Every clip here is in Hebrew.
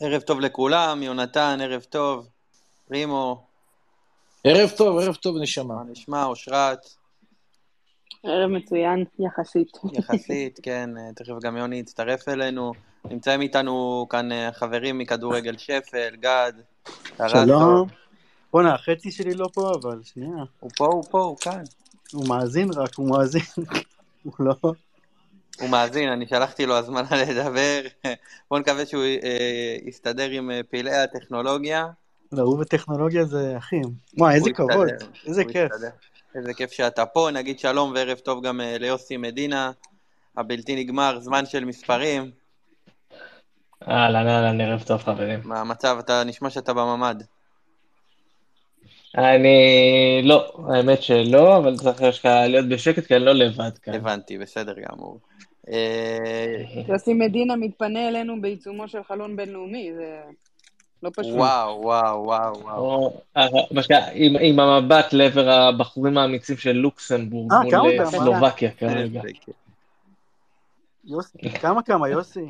ערב טוב לכולם, יונתן, ערב טוב, רימו, ערב טוב, ערב טוב נשמה. מה נשמע, אושרת, ערב מצוין, יחסית. יחסית, כן, אה, תכף גם יוני יצטרף אלינו. נמצאים איתנו כאן אה, חברים מכדורגל שפל, גד, טרסו. שלום. בואנה, החצי שלי לא פה, אבל שנייה. הוא פה, הוא פה, הוא כאן. הוא מאזין רק, הוא מאזין. הוא לא... הוא מאזין, אני שלחתי לו הזמנה לדבר. בואו נקווה שהוא אה, יסתדר עם אה, פעילי הטכנולוגיה. לא, הוא בטכנולוגיה זה אחים. וואי, אה, איזה הוא כבוד, יסתדר, איזה הוא כיף. יסתדר. איזה כיף שאתה פה, נגיד שלום וערב טוב גם אה, ליוסי מדינה, הבלתי נגמר, זמן של מספרים. אהלן, אהלן, ערב טוב חברים. מה המצב, אתה נשמע שאתה בממ"ד. אני לא, האמת שלא, אבל צריך יש לך להיות בשקט כי אני לא לבד כאן. הבנתי, בסדר גמור. אה, יוסי מדינה מתפנה אלינו בעיצומו של חלון בינלאומי, זה לא פשוט. וואו, וואו, וואו, וואו. או, אה, מה שנקרא, עם- עם המבט לעבר הבחורים האמיצים של לוקסמבורג אה, כמה מול אתה אה, סלובקיה כרגע. איזה כיף. יוסי, כמה כמה, יוסי?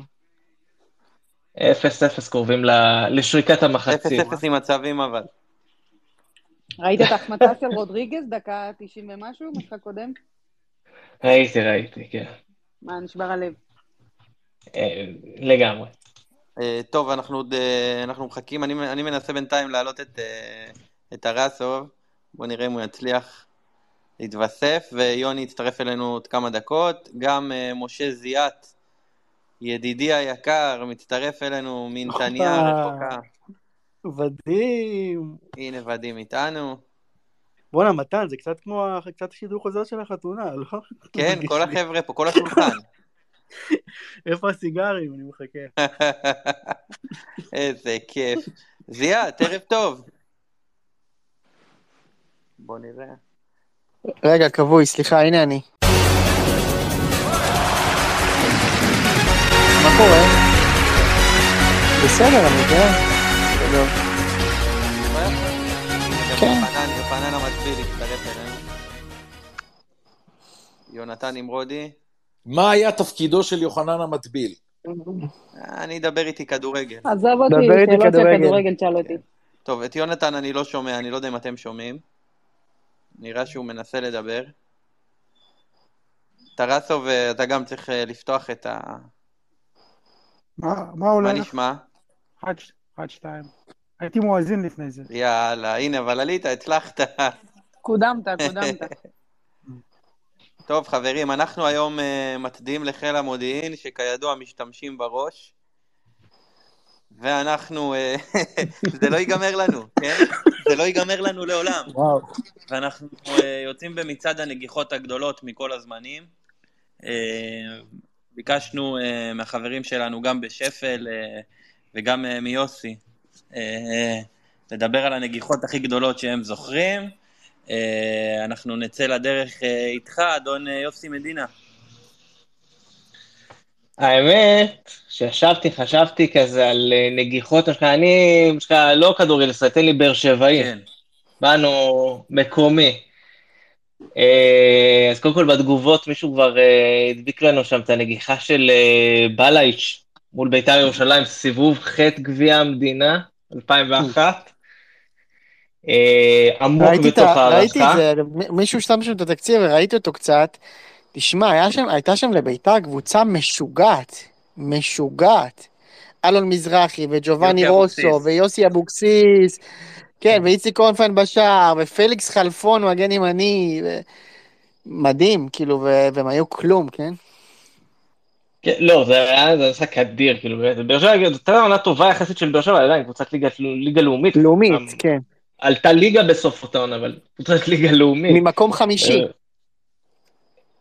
אפס אפס קרובים ל- לשריקת אפס המחצית. אפס עם מצבים אבל. ראית את ההחמצה של רודריגז, דקה 90 ומשהו, משחק קודם? ראיתי, ראיתי, כן. מה, נשבר הלב. אה, לגמרי. אה, טוב, אנחנו עוד, אה, אנחנו מחכים, אני אני מנסה בינתיים להעלות את, אה, את הרסוב, בוא נראה אם הוא יצליח להתווסף, ויוני יצטרף אלינו עוד כמה דקות, גם אה, משה זיאת, ידידי היקר, מצטרף אלינו מנתניה הופה. הרחוקה, מדהים. הנה ודים איתנו, בואנה, מתן, זה קצת כמו ה- קצת שידור חוזר של החתונה, לא? כן, מרגיש כל לי. החבר'ה פה, כל השולחן. איפה הסיגרים? אני מחכה. איזה כיף. זיאת, ערב טוב. בוא נראה. רגע, כבוי, סליחה, הנה אני. מה קורה? בסדר, אני יודע. בסדר. כן. גם יוחנן, יוחנן המסביר יצטרף אלינו. יונתן נמרודי, מה היה תפקידו של יוחנן המטביל? אה, אני אדבר איתי כדורגל. עזוב אותי, דבר איתי שאלות של כדורגל. כדורגל תשאל אותי. טוב, את יונתן אני לא שומע, אני לא יודע אם אתם שומעים. נראה שהוא מנסה לדבר. טרסוב, אה, אתה גם צריך אה, לפתוח את ה... מה מה עולה מה לך? נשמע? אחד, ש- אחד, שתיים. הייתי מואזין לפני זה. יאללה, הנה, אבל עלית, הצלחת. קודמת, קודמת. טוב, חברים, אנחנו היום uh, מצדיעים לחיל המודיעין, שכידוע משתמשים בראש, ואנחנו, uh, זה לא ייגמר לנו, כן? זה לא ייגמר לנו לעולם. וואו. ואנחנו uh, יוצאים במצעד הנגיחות הגדולות מכל הזמנים. Uh, ביקשנו uh, מהחברים שלנו, גם בשפל uh, וגם uh, מיוסי, uh, uh, לדבר על הנגיחות הכי גדולות שהם זוכרים. Uh, אנחנו נצא לדרך uh, איתך, אדון uh, יוסי מדינה. האמת, שישבתי, חשבתי כזה על אה, נגיחות, מה שנקרא, אני, מה שנקרא, לא כדורגל, תן לי באר שבעי. כן. באנו מקומי. אה, אז קודם כל בתגובות מישהו כבר אה, הדביק לנו שם את הנגיחה של אה, בלייץ' מול בית"ר ירושלים, סיבוב ח' גביע המדינה, 2001. אה, עמוק ראיתי את בתוך ה- ראיתי את ההערכה. זה, מ- מישהו שם שם את התקציר וראיתי אותו קצת. תשמע, היה שם- הייתה שם לביתר קבוצה משוגעת, משוגעת. אלון מזרחי וג'ובאני יוסי רוסו אבוקסיס. ויוסי אבוקסיס, כן, ואיציק קורנפיין בשער, ופליקס חלפון מגן ימני, ו- מדהים, כאילו, ו- והם היו כלום, כן? כן, לא, זה היה זה היה משחק אדיר, כאילו, באמת. באר שבע, זו הייתה עונה טובה יחסית של באר שבע, עדיין קבוצת ליגה- כאילו, ליגה לאומית. אמ, לאומית, כן. עלתה ליגה בסוף אותה עונה, אבל קבוצת ליגה לאומית. ממקום חמישי. אה,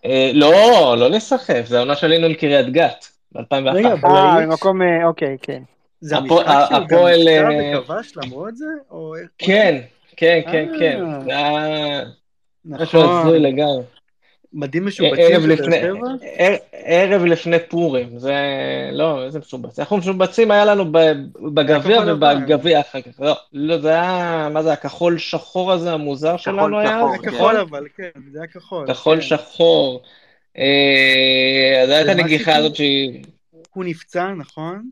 אה, לא, לא לסחף, זה העונה של אינון קריית גת, רגע, ב-2001. בלאיץ'? אה, ממקום, אה, אוקיי, כן. זה הפועל- המשחק שהוא גם הפועל, אה, נפצע וכבש למרות זה? או איך- כן, כן, כן, אה. כן. זה היה משהו נכון. הזוי לגמרי. אה, מדהים משובצים ערב של באר לפני, שבע? ער- ערב לפני פורים, זה לא, איזה משובץ. אנחנו משובצים היה לנו ב- בגביע היה כחול לבן. ובגביע אחר כך. לא, לא, זה היה, מה זה, הכחול שחור הזה המוזר שלנו לא היה? שחור, זה כן. כחול אבל, כן, זה היה כחול. כחול כן. שחור. אה, אז הייתה זה הנגיחה משהו הזאת שהיא... הוא נפצע, נכון?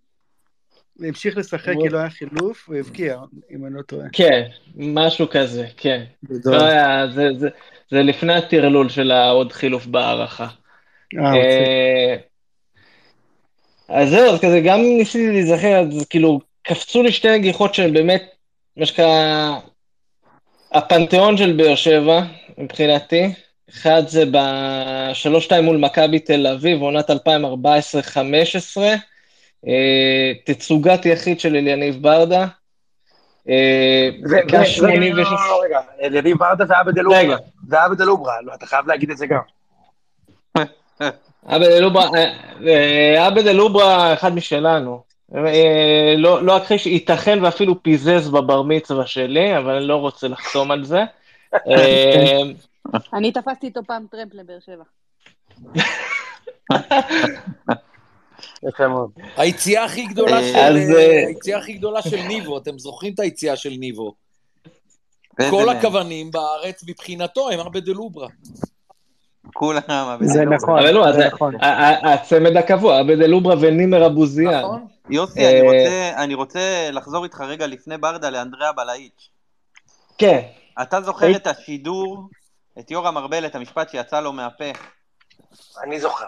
המשיך לשחק כי לא היה חילוף, והבקיע, אם אני לא טועה. כן, משהו כזה, כן. גדול. לא היה, זה- זה- זה לפני הטרלול של העוד חילוף בהערכה. אה, מצחיק. אה, אז זהו, אז כזה גם ניסיתי להיזכר, אז כאילו, קפצו לי שתי נגיחות שהן באמת, מה שנקרא, הפנתיאון של באר שבע, מבחינתי. אחד זה ב-3-2 מול מכבי תל אביב, עונת 2014-2015, אה, תצוגת יחיד של אליניב ברדה. אה, דקה 86. לא, רגע, אליניב ברדה זה עבד אל-אוברה. רגע. זה עבד אל-אוברה, לא, אתה חייב להגיד את זה גם. אה, עבד אלוברה, עבד אלוברה אה, אחד משלנו. אה, לא לא אכחיש, ייתכן ואפילו פיזז בבר מצווה שלי, אבל אני לא רוצה לחתום על זה. אה, אני תפסתי איתו פעם טרמפ לבאר שבע. יפה מאוד. היציאה הכי גדולה אה, של... אז, אה, אה, היציאה הכי גדולה של ניבו, אתם זוכרים את היציאה של ניבו. זה- כל זה- הכוונים בארץ מבחינתו הם הרבה דלוברה. כולם, אבל- זה נכון, אבל לא, זה אה, זה- נכון. ה- ה- הצמד הקבוע, עבד אלוברה ונימר אבוזיאן. נכון? יוסי, אה, אני רוצה- אני רוצה לחזור איתך רגע לפני ברדה לאנדריאה בלאיץ'. כן, אתה זוכר את השידור, את יורם ארבל, את המשפט שיצא לו מהפה? אני זוכר.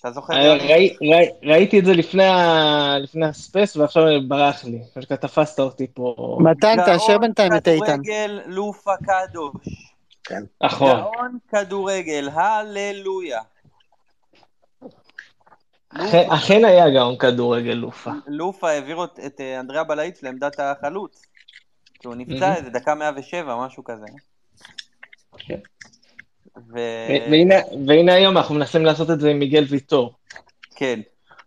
אתה זוכר? יוני? אה, ראי- ראי- ראיתי את זה לפני ה- לפני הספייס, ועכשיו ברח לי. אני חושב שתפסת אותי פה. מתן, תאשר גאון בינתיים את איתן. כדורגל לופה קדוש. נכון. גאון כדורגל, הללויה. אכן- אכן היה גאון כדורגל לופה. לופה העביר את- את אה, אנדריה בלאיץ לעמדת החלוץ. כי הוא נפצע מהמם. איזה דקה 107, משהו כזה. כן. ו- ו- והנה, והנה היום אנחנו מנסים לעשות את זה עם מיגל ויטור. כן.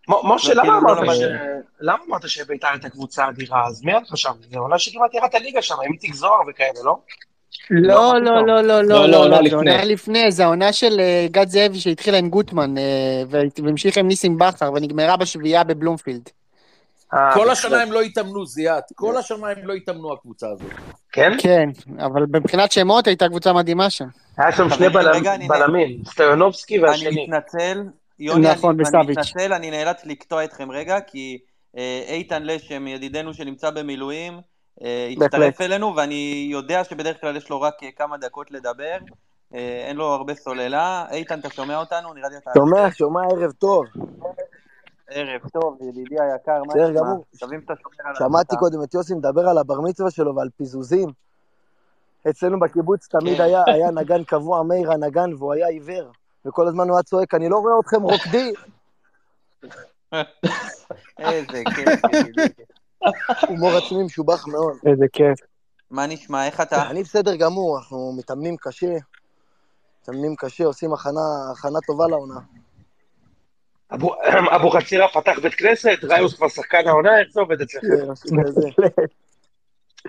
מ- משה, לא, למה כאילו, לא אמרת למדתי. ש- למה אמרת שביתר הייתה קבוצה אדירה? אז מי את חשב? זה עונה שכמעט ירד הליגה שם, עם איציק זוהר וכאלה, לא? לא, לא, לא, לא, לא, לא, לא, לא, לפני. זו עונה לפני, זו העונה של אה, גד זאבי שהתחילה עם גוטמן, אה, והמשיכה עם ניסים בכר, ונגמרה בשביעייה בבלומפילד. אה, כל בסדר. השנה הם לא התאמנו, זיאת. כן. כל השנה הם לא התאמנו, הקבוצה הזאת. כן? כן, אבל מבחינת שמות הייתה קבוצה מדהימה שם. היה שם שני חברים, בלמ- רגע, אני- בלמים, סטויונובסקי אני והשני. מתנצל, יוני, נכון, אני, אני וסביץ'. מתנצל, אני נאלץ לקטוע אתכם רגע, כי אה, איתן לשם, ידידנו שנמצא במילואים, אה, הצטרף בהחלט. אלינו, ואני יודע שבדרך כלל יש לו רק אה, כמה דקות לדבר, אה, אין לו הרבה סוללה. איתן, אתה שומע אותנו? נראה לי אתה... שומע, שומע, ערב טוב. ערב טוב, ידידי היקר, מה בסדר נשמע? גמור. מקווים שאתה שומר על שמעתי עצמך. קודם את יוסי מדבר על הבר מצווה שלו ועל פיזוזים. אצלנו בקיבוץ כן. תמיד היה, היה נגן קבוע, מאיר הנגן, והוא היה עיוור. וכל הזמן הוא היה צועק, אני לא רואה אתכם רוקדים. איזה כיף, ידידי. הומור עצמי משובח מאוד. איזה כיף. כן. מה נשמע? איך אתה? אני בסדר גמור, אנחנו מתאמנים קשה. מתאמנים קשה, עושים הכנה, הכנה טובה לעונה. אבו- אבו חצירה פתח בית כנסת, ראיוס כבר שחקן העונה, איך זה עובד אצלכם? כן, משהו כזה.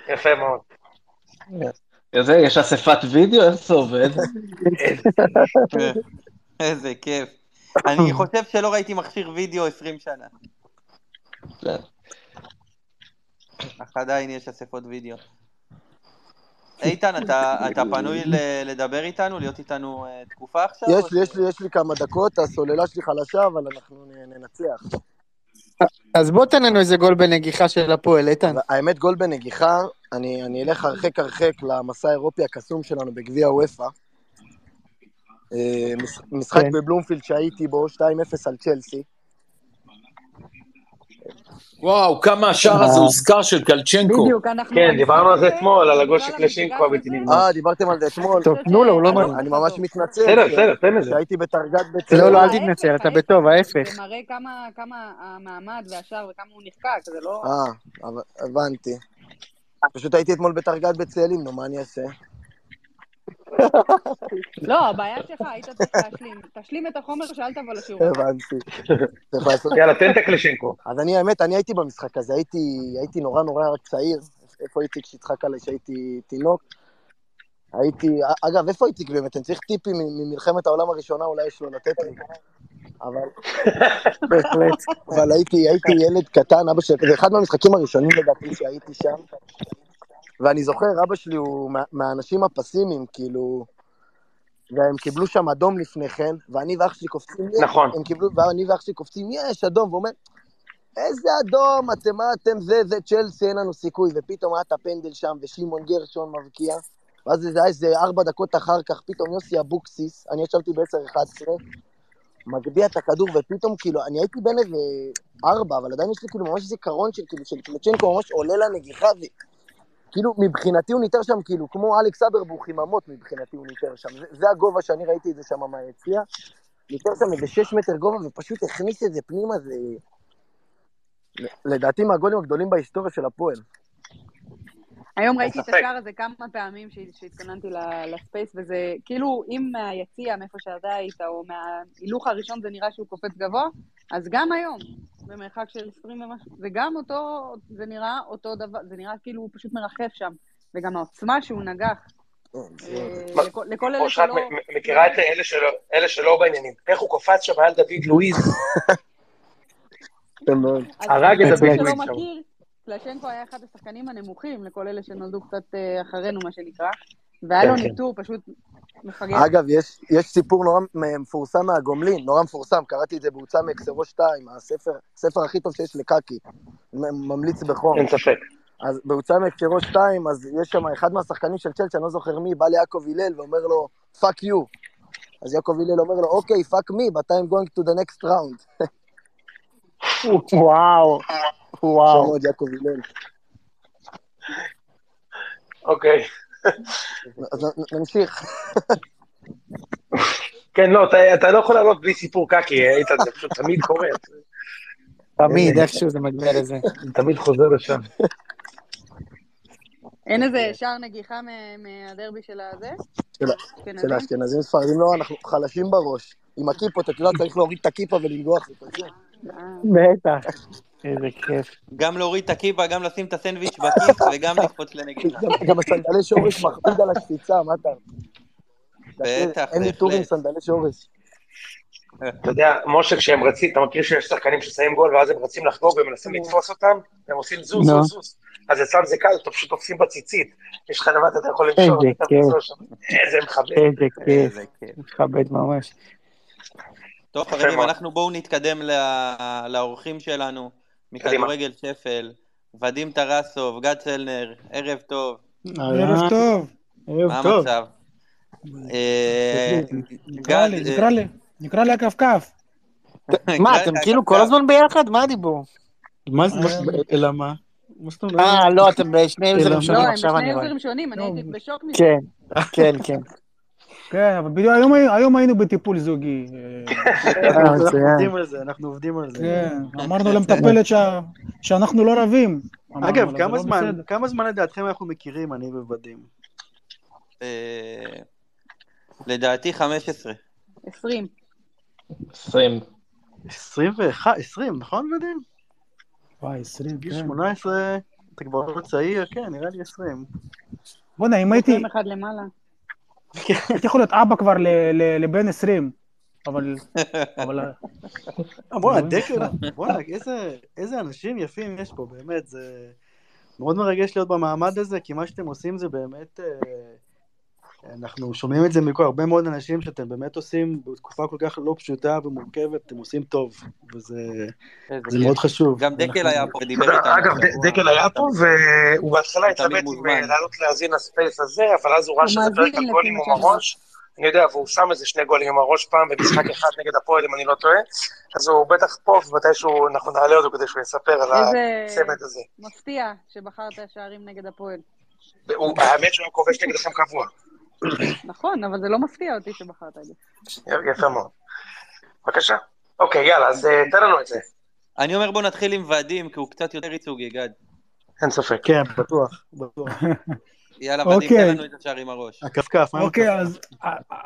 יפה מאוד. זה, יש אספת וידאו? איך זה עובד? איזה כיף. אני חושב שלא ראיתי מכשיר וידאו 20 שנה. כן. אך עדיין יש אספות וידאו. איתן, אתה, אתה פנוי ל- לדבר איתנו? להיות איתנו אה, תקופה עכשיו? יש או לי, ש- יש לי, יש לי כמה דקות, הסוללה שלי חלשה, אבל אנחנו נ- ננצח. אז בוא תן לנו איזה גול בנגיחה של הפועל, איתן. האמת, גול בנגיחה, אני, אני אלך הרחק הרחק למסע האירופי הקסום שלנו בגביע וופא. אה, מש- משחק כן. בבלומפילד שהייתי בו, 2-0 על צ'לסי. וואו, כמה השער הזה הוזכר של קלצ'נקו. בדיוק, אנחנו... כן, דיברנו על זה המשחק אתמול, על הגול הזה, של קלצ'נקו בכלל הבלתי הזה, נגמר. אה, דיברתם על זה אתמול. טוב, תנו לו, הוא לא אני- מאמין. אני ממש מתנצל. בסדר, ש- בסדר, תן לזה. שהייתי בתרגת בצלם. לא, לא, אל ההפך, תתנצל, אתה ההפך. בטוב, ההפך. זה מראה כמה- כמה המעמד והשאר וכמה הוא נחקק, זה לא... אה, אבל- הבנתי. פשוט הייתי אתמול בתרגת בצאלים, נו, מה אני אעשה? לא, הבעיה שלך, היית צריך להשלים. תשלים את החומר שאל תבוא לשיעור. הבנתי. צריך לעשות... יאללה, תן את הקלצ'נקו. אז אני, האמת, אני הייתי במשחק הזה, הייתי, הייתי נורא נורא רק צעיר. איפה איציק שיצחק עליי כשהייתי תינוק? הייתי, אגב, איפה איציק באמת? אני צריך טיפים מ- ממלחמת העולם הראשונה, אולי יש לו לתת לי. אבל, בהחלט. אבל הייתי, הייתי ילד קטן, אבא שלי, זה אחד מהמשחקים הראשונים לדעתי שהייתי שם. ואני זוכר, אבא שלי הוא מה- מהאנשים הפסימיים, כאילו... והם קיבלו שם אדום לפני כן, ואני ואח שלי קופצים, "יש!" נכון. הם קיבלו, ואני ואח שלי קופצים, יש, אדום, ואומר, איזה אדום, אתם מה אתם זה, זה צ'לסי, אין לנו סיכוי, ופתאום היה את הפנדל שם, ושמעון גרשון מבקיע, ואז איזה, איזה ארבע דקות אחר כך, פתאום יוסי אבוקסיס, אני ישבתי ב-10-11, מגביה את הכדור, ופתאום כאילו, אני הייתי בין איזה ארבע, אבל עדיין יש לי כאילו ממש זיכרון של כאילו, של קמצ'נקו ממש עולה לנגיחה, וכאילו, כאילו, מבחינתי הוא ניתר שם כאילו, כמו אלכס אברבוך עם המוט מבחינתי הוא ניתר שם, זה, זה הגובה שאני ראיתי את זה שם מהיציע, ניתר שם איזה שש מטר גובה, ופשוט הכניס את זה פנימה, זה... לדעתי מהגולים הגדולים בהיסטוריה של הפועל. היום ראיתי את ספק. השער הזה כמה פעמים ש- שהתכוננתי ל- לספייס, וזה כאילו, אם מהיציע, מאיפה שאתה היית, או מההילוך הראשון זה נראה שהוא קופץ גבוה, אז גם היום, במרחק של 20 ומשהו, זה גם אותו, זה נראה אותו דבר, זה נראה כאילו הוא פשוט מרחף שם, וגם העוצמה שהוא נגח. אה, לכל- לכל אלה אושרת שלא... מ- מכירה את אלה שלא- אלה שלא בעניינים. איך הוא קפץ שם על דוד לואיז? אז הרג את למי הדוד שלא לואיז שם. מכיר, קלשנקו היה אחד השחקנים הנמוכים, לכל אלה שנולדו קצת אה, אחרינו, מה שנקרא, והיה לו כן, כן. ניטור פשוט מפגר. אגב, יש, יש סיפור נורא מפורסם מהגומלין, נורא מפורסם, קראתי את זה בהוצאה מקסרו 2, הספר, הספר הכי טוב שיש לקקי, מ- ממליץ בחום. אין ספק. אז בהוצאה מהקשרו 2, אז יש שם אחד מהשחקנים של צ'לסי, אני לא זוכר מי, בא ליעקב הלל ואומר לו, פאק יו. אז יעקב הלל אומר לו, אוקיי, פאק מי, but I'm going to the next round. וואו, שם וואו. עוד יעקב הלל. אוקיי. אז נ- נ- נמשיך. כן, לא, אתה- אתה לא יכול לעלות בלי סיפור קקי, איתן, זה פשוט תמיד קורה. תמיד, איכשהו זה מגיע לזה. אני תמיד חוזר לשם. אין איזה שער נגיחה מה- מהדרבי של הזה? של ה- של אשכנזי? האשכנזים ספרדים, לא, אנחנו חלשים בראש. עם הכיפות, אתה יודע, צריך להוריד את הכיפה ולנגוח. זה כזה. בטח. איזה כיף. גם להוריד את הכיפה, גם לשים את הסנדוויץ' בכיס וגם לקפוץ לנגיחה. גם- גם הסנדלי שורש מכביד על הקפיצה, מה אתה? בטח, אין לי טור עם בהחלט. סנדלי שורש. אתה יודע, משה, כשהם רצים, אתה מכיר שיש שחקנים ששמים גול ואז הם רצים לחגוג ומנסים לתפוס אותם, והם עושים זוז, נו. זוז, זוז. אז אצלם זה קל, אתה פשוט תופסים בציצית. יש לך לבד, אתה יכול למשוך, איזה אתה כיף. תמצוא שם. איזה מחבל. איזה כיף. איזה כיף. מתכבד ממש. טוב יפה חברים, מאוד. אנחנו בואו נתקדם ל- לאורחים שלנו מכדורגל שפל, ודים טרסוב, גד צלנר, ערב טוב, אה. ערב טוב. מה ערב טוב. המצב? אה, נקרא גד, לי, אה, נקרא לי, נקרא לי הקפקף. מה, גד, אתם אה, כאילו גד, כל הזמן ביחד? מה הדיבור? מה זה, אה, מה- אלא מה? מה זאת אומרת? אה, לא, אתם בשני אלא יוזרים לא, הם שונים מה? עכשיו, בשני אני רואה. יוזרים שונים, לא, אני הייתי בשוק מזה. כן, כן, כן. כן, אבל בדיוק היום הי- היום היינו בטיפול זוגי. אה, אה, אנחנו מצוין. עובדים על זה, אנחנו עובדים על זה. כן, אמרנו למטפלת שה- שאנחנו לא רבים. אמרנו לה, אגב, "זה כמה לא זמן, בסדר." כמה זמן לדעתכם אנחנו מכירים, אני ובדים? אה, לדעתי 15. 20. 20. 21, 20, נכון, בדים? וואי, 20, גיל כן. 18, אתה כבר לא צעיר, כן, נראה לי אוקיי, 20. בוא'נה, אם הייתי, יום אחד למעלה. כן. הייתי יכול להיות אבא כבר ל- ל- לבן 20, אבל... אבל... אה, בואנה, דקל, בואנה, איזה- איזה אנשים יפים יש פה, באמת, זה מאוד מרגש להיות במעמד הזה, כי מה שאתם עושים זה באמת, אה, אנחנו שומעים את זה מכל הרבה מאוד אנשים שאתם באמת עושים בתקופה כל כך לא פשוטה ומורכבת, אתם עושים טוב, וזה איזה זה כיף. מאוד חשוב. גם דקל אנחנו- היה פה ודיבר איתנו. אגב, השבוע. דקל היה פה, והוא בהתחלה הוא התלבט תמיד אם מוזמן. אה, לעלות להאזין לספייס הזה, אבל אז הוא ראה הוא שזה מאזין פרק על לפי גולים מה עם שאמרת. הראש. אני יודע, והוא שם איזה שני גולים עם הראש פעם במשחק אחד נגד הפועל, אם אני לא טועה. אז הוא בטח פה, ומתישהו אנחנו נעלה אותו כדי שהוא יספר על איזה הצמד הזה. מפתיע שבחרת שערים נגד הפועל. הוא- האמת שהוא היה כובש נגדכם קבוע. נכון, אבל זה לא מפתיע אותי שבחרת את זה. יפה מאוד. בבקשה. אוקיי, יאללה, אז אה, תן לנו את זה. אני אומר בוא נתחיל עם ודים, כי הוא קצת יותר ייצוגי, גד. אין ספק. כן, בטוח, בטוח. יאללה, ודים, אוקיי. תן לנו את השער עם הראש. הכפכף, מה עם אוקיי, אז... ה- ה-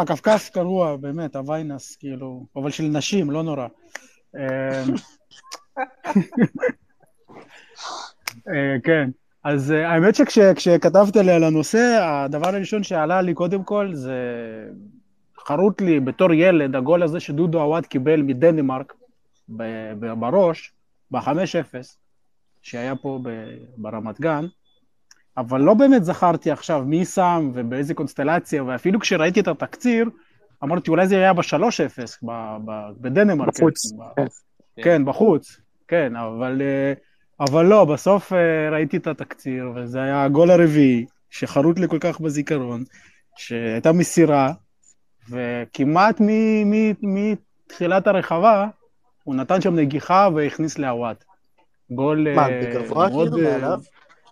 הקפקף גרוע, באמת, הוויינס, כאילו, אבל של נשים, לא נורא. אה, אה, כן, אז אה, האמת שכשכתבת לי על הנושא, הדבר הראשון שעלה לי קודם כל זה חרוט לי בתור ילד, הגול הזה שדודו עווד קיבל מדנמרק ב- ב- בראש, ב-5-0, שהיה פה ב- ברמת גן, אבל לא באמת זכרתי עכשיו מי שם ובאיזה קונסטלציה, ואפילו כשראיתי את התקציר, אמרתי אולי זה היה ב-3-0, ב- ב- בדנמרק. בחוץ. כן, בחוץ. כן, אבל, אה, אבל לא, בסוף אה, ראיתי את התקציר, וזה היה הגול הרביעי, שחרוט לי כל כך בזיכרון, שהייתה מסירה, וכמעט מ- מ- מתחילת הרחבה, הוא נתן שם נגיחה והכניס לעוואט. גול... מה, אה, בגבוה מאוד, כאילו, אה, מעליו?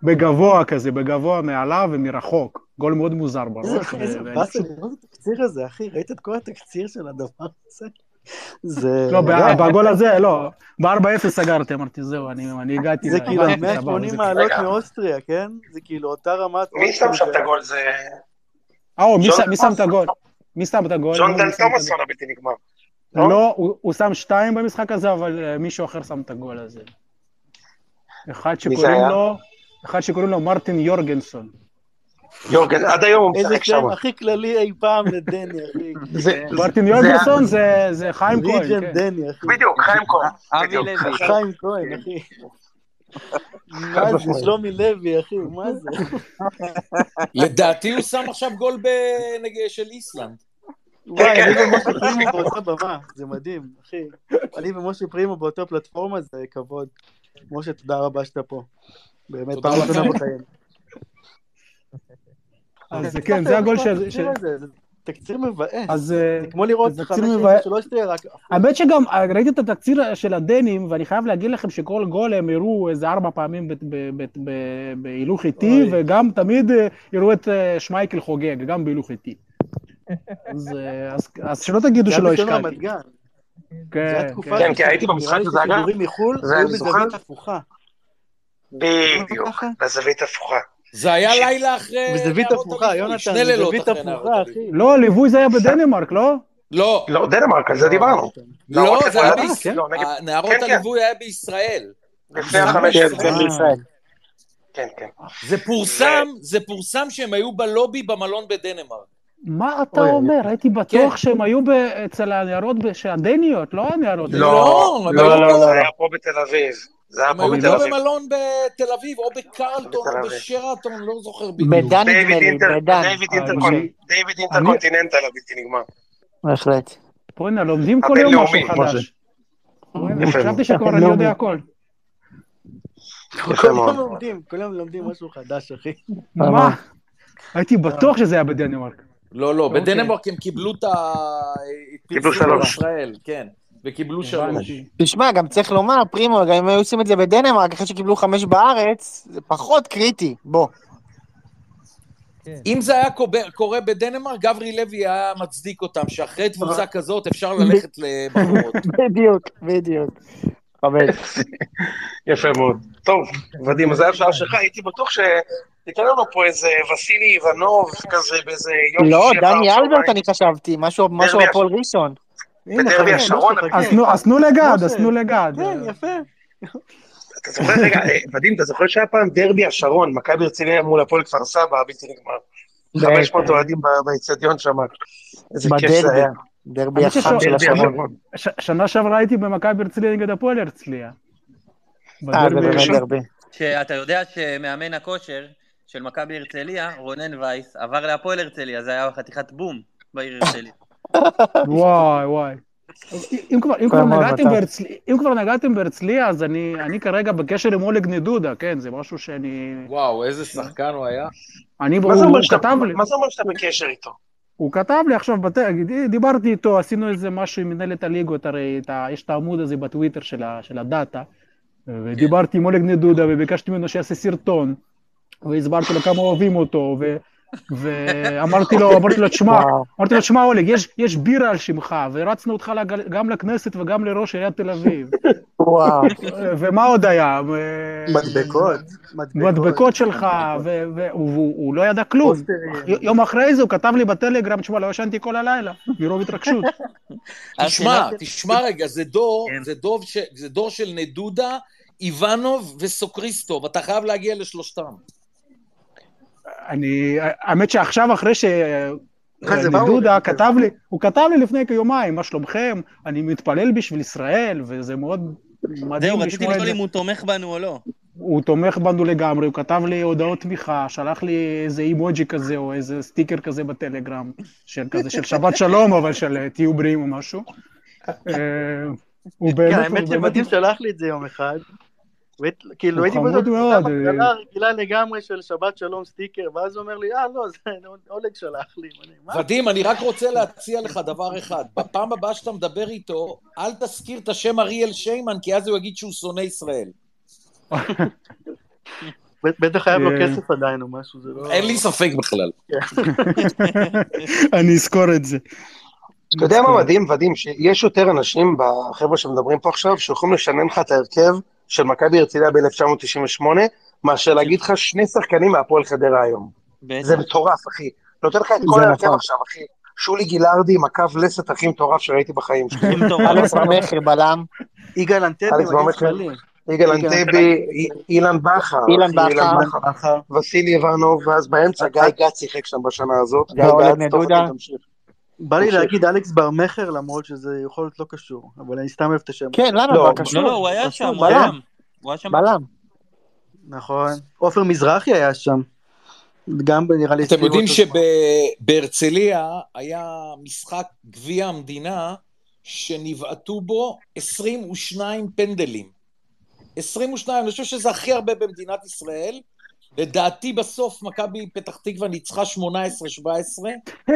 בגבוה כזה, בגבוה מעליו ומרחוק. גול מאוד מוזר איזה- בראש. איזה אה, ואני באסה פשוט- לראות את התקציר הזה, אחי, ראית את כל התקציר של הדבר הזה? זה... לא, די. ב- בגול הזה, לא. ב-4-0 סגרתי, אמרתי, זהו, אני אני הגעתי, זה כאילו הבנתי, סבבה, 180 זה- מעלות רגע. מאוסטריה, כן? זה כאילו אותה רמת... מי שם שם את הגול? זה אה, מי ג'ון שם- מי שם את הגול? מי שם את הגול? ג'ון מי דן שם את תומאסון הבלתי נגמר. הגול? לא? לא, הוא הוא שם שתיים במשחק הזה, אבל אה, מישהו אחר שם את הגול הזה. אחד מי זה שקוראים היה? לו, אחד שקוראים לו מרטין יורגנסון. יורגן, עד היום הוא איזה משחק שם. שם הכי כללי אי פעם לדני, אחי. זה- מרטין זה- יורגנסון זה- זה חיים כהן, ריג'ן כן. דני, אחי. בדיוק, חיים כהן. אבי בדיוק. לוי. חיים כהן, אחי. מה זה, שלומי לוי, אחי, מה זה? לדעתי הוא שם עכשיו גול בנג- של איסלנד. וואי, אני לא כן. ומשה פרימו באותה במה, זה מדהים, אחי. אני ומשה פרימו באותה פלטפורמה, זה כבוד. משה, תודה רבה שאתה פה. באמת, תודה פעם ראשונה לכם. בחיים. אז זה כן, זה הגול ש... ש- התקציר הזה, זה תקציר מבאס. אז אה, זה כמו לראות זה תקציר חמש מבאס. עשר שלוש תהיה רק... האמת שגם אה, ראיתי את התקציר של הדנים, ואני חייב להגיד לכם שכל גול הם יראו איזה ארבע פעמים ב- ב- ב- ב- בהילוך איטי, אוי. וגם תמיד אה, יראו את אה, שמייקל חוגג, גם בהילוך איטי. אז, אה, אז- אז שלא זה תגידו היה שלא בלשון השקעתי. רמת גן. זה כן, התקופה כן. כן, כי הייתי ששידורים- במשחק הזה, נראה לי אגב. ששידורים מחו"ל זה היו אני זוכר. בזווית הפוכה. בדיוק, ככה? בזווית הפוכה. זה היה לילה אחרי... בזווית נערות הפוכה, הליווי, אה, יונתן, שני לילות בזווית אחרי נערות הפוכה, הליווי. אחי. לא, ליווי זה היה בדנמרק, לא? לא, לא, דנמרק, על זה דיברנו. לא, נערות זה היה הליווי, בישראל. לא, נגד- נערות כן, כן. הליווי היה בישראל. לפני זה החמש היה עשרה. בישראל. כן, כן. זה פורסם, זה פורסם שהם היו בלובי במלון בדנמרק. מה אתה אוי, אומר? הייתי כן. בטוח שהם היו ב- אצל הנערות ב- שהדניות, לא הנערות. לא, הם לא, היו לא, פה- זה היה פה בתל אביב. זה היה הם פה היו בתל פה אביב. לא במלון בתל אביב, או בקרלטון, בתל או אביב. בשרתון, לא זוכר בדיוק. בדן נדמה דיוויד לי, אינטר- בדן. דיוויד אני- אינטרקונ- דיוויד אינטרקונטיננטל הבלתי נגמר. בהחלט. בוא'נה, לומדים כל יום הבינלאומי, משהו חדש. בוא'נה, יפה. חשבתי שכבר אני בינלאומי. יודע הכל. כל יפה מאוד. יום לומדים, כל יום לומדים משהו חדש, אחי. מה? הייתי בטוח שזה היה בדנמרק. לא, לא, אוקיי. בדנמרק הם קיבלו את ה... אה, קיבלו הפיצו שלוש. בישראל, כן. וקיבלו שלוש. הבנתי. תשמע, גם צריך לומר, פרימו, גם אם היו עושים את זה בדנמרק, אחרי שקיבלו חמש בארץ, זה פחות קריטי. בוא. אם זה היה קוב- קורה בדנמרק, גברי לוי היה מצדיק אותם, שאחרי תבוסה כזאת אפשר ללכת לבחורות. בדיוק, בדיוק. חמש. יפה מאוד. טוב, ודים, אז היה אפשר שלך, הייתי בטוח שתיתן לנו פה איזה וסילי איבנוב כזה באיזה יום לא, שישי אחר דני אלברט הצהריים. אני חשבתי, משהו משהו דרבי הפועל ראשון. הנה, בדרבי חכה, השרון, לא משה, חכה. אז תנו- אז תנו לגד, משה. אז תנו לגד. כן, יפה. אתה זוכר, רגע, אה, ודים, אתה זוכר שהיה פעם דרבי השרון, מכבי הרצליה מול הפועל כפר סבא, הבלתי נגמר. 500 אוהדים ב- באצטדיון שם. איזה כיף זה בדרבי. היה. דרבי האמת החם של ששם- דרבי השרון. השרון. ש- שנה שעברה הייתי במכבי הרצליה נגד הפועל הרצליה. אה, זה בדרבי- באמת דרבי. שאתה יודע שמאמן הכושר של מכבי הרצליה, רונן וייס, עבר להפועל הרצליה, זה היה חתיכת בום בעיר הרצליה. וואי, וואי. אם כבר, אם, כבר כל הכבוד, נגעתם מתן. בהרצליה, אם כבר נגעתם בהרצליה, אז אני, אני כרגע בקשר עם אולג נדודה, כן, זה משהו שאני... וואו, איזה שחקן הוא היה. אני, הוא, מה זה הוא אומר שאתה- כתב לי, מה זה אומר שאתה בקשר איתו? הוא כתב לי עכשיו, בת... דיברתי איתו, עשינו איזה משהו עם מנהלת הליגות, הרי את ה... יש את העמוד הזה בטוויטר של, ה... של הדאטה, ודיברתי עם אולג נדודה וביקשתי ממנו שיעשה סרטון, והסברתי לו כמה אוהבים אותו, ו... ואמרתי לו, אמרתי לו, תשמע, וואו. אמרתי לו, תשמע אולג, יש, יש בירה על שמך, והרצנו אותך לגל... גם לכנסת וגם לראש עיריית תל אביב. וואו. ומה עוד היה? מדבקות. מדבקות שלך, ו- ו- והוא הוא לא ידע כלום. פוסטרים. י- יום אחרי זה הוא כתב לי בטלגרם, תשמע, לא ישנתי כל הלילה, מרוב התרגשות. תשמע, השאלה- תשמע רגע, זה דור, כן. זה דור, ש... זה דור של נדודה, איוונוב וסוקריסטוב, אתה חייב להגיע לשלושתם. אני, האמת שעכשיו, אחרי ש... אה, זה אה, באו דודה אליי, כתב לי, הוא כתב לי לפני כיומיים, מה שלומכם? אני מתפלל בשביל ישראל, וזה מאוד זהו, מדהים רציתי לשמוע את לשאול זה. אם הוא תומך בנו או לא. הוא תומך בנו לגמרי, הוא כתב לי הודעות תמיכה, שלח לי איזה אימוג'י כזה או איזה סטיקר כזה בטלגרם, של כזה, של שבת שלום, אבל של אה, תהיו בריאים או משהו. אה, הוא כן, באמת... האמת הוא באמת- שמדים שלח לי את זה יום אחד. והייתי- כאילו הוא הייתי חמוד בטוח מאוד, שזה אה. המגדלה הרגילה לגמרי של שבת שלום סטיקר, ואז הוא אומר לי, אה, לא, זה אולג שלח לי. אני, מה? ודים, אני רק רוצה להציע לך דבר אחד. בפעם הבאה שאתה מדבר איתו, אל תזכיר את השם אריאל שיימן, כי אז הוא יגיד שהוא שונא ישראל. בט- בטח חייב לו אה. כסף עדיין או משהו, זה לא... אין לי ספק בכלל. אני אזכור את זה. אה, אתה יודע מה מדהים, ודים? שיש יותר אנשים בחבר'ה שמדברים פה עכשיו, שיכולים לשנן לך את ההרכב של מכבי הרצליה ב-1998, מאשר להגיד לך שני שחקנים מהפועל חדרה היום. בטח. זה מטורף, אחי. נותן לך את כל זה ההרכב נכון. עכשיו, אחי. שולי גילארדי עם הקו לסת הכי מטורף שראיתי בחיים שלי. זה מטורף. אלכס ממכר בלם, יגאל אנטבי, אלכס מגן ברמת שמאלי. יגאל יגאל אנטבי, אי- אילן בכר. אחי, אילן בכר. בכר. וסילי איוונוב, ואז באמצע גיא גת שיחק שם בשנה הזאת. גיא ואולג גת, טוב, נדודה. אני תמשיך. בא לי תמשיך. להגיד אלכס בר מכר, למרות שזה יכול להיות לא קשור, אבל אני סתם אוהב את השם. כן, למה? לא, מה לא, קשור? לא, לא, הוא היה קשור, שם, הוא היה בלם, שם. הוא היה שם. בלם. נכון. עופר מזרחי היה שם. גם נראה לי... אתם סביב יודעים אותו זמן. שבהרצליה היה משחק גביע המדינה שנבעטו בו 22 פנדלים. 22, אני חושב שזה הכי הרבה במדינת ישראל. לדעתי בסוף מכבי פתח תקווה ניצחה 18-17.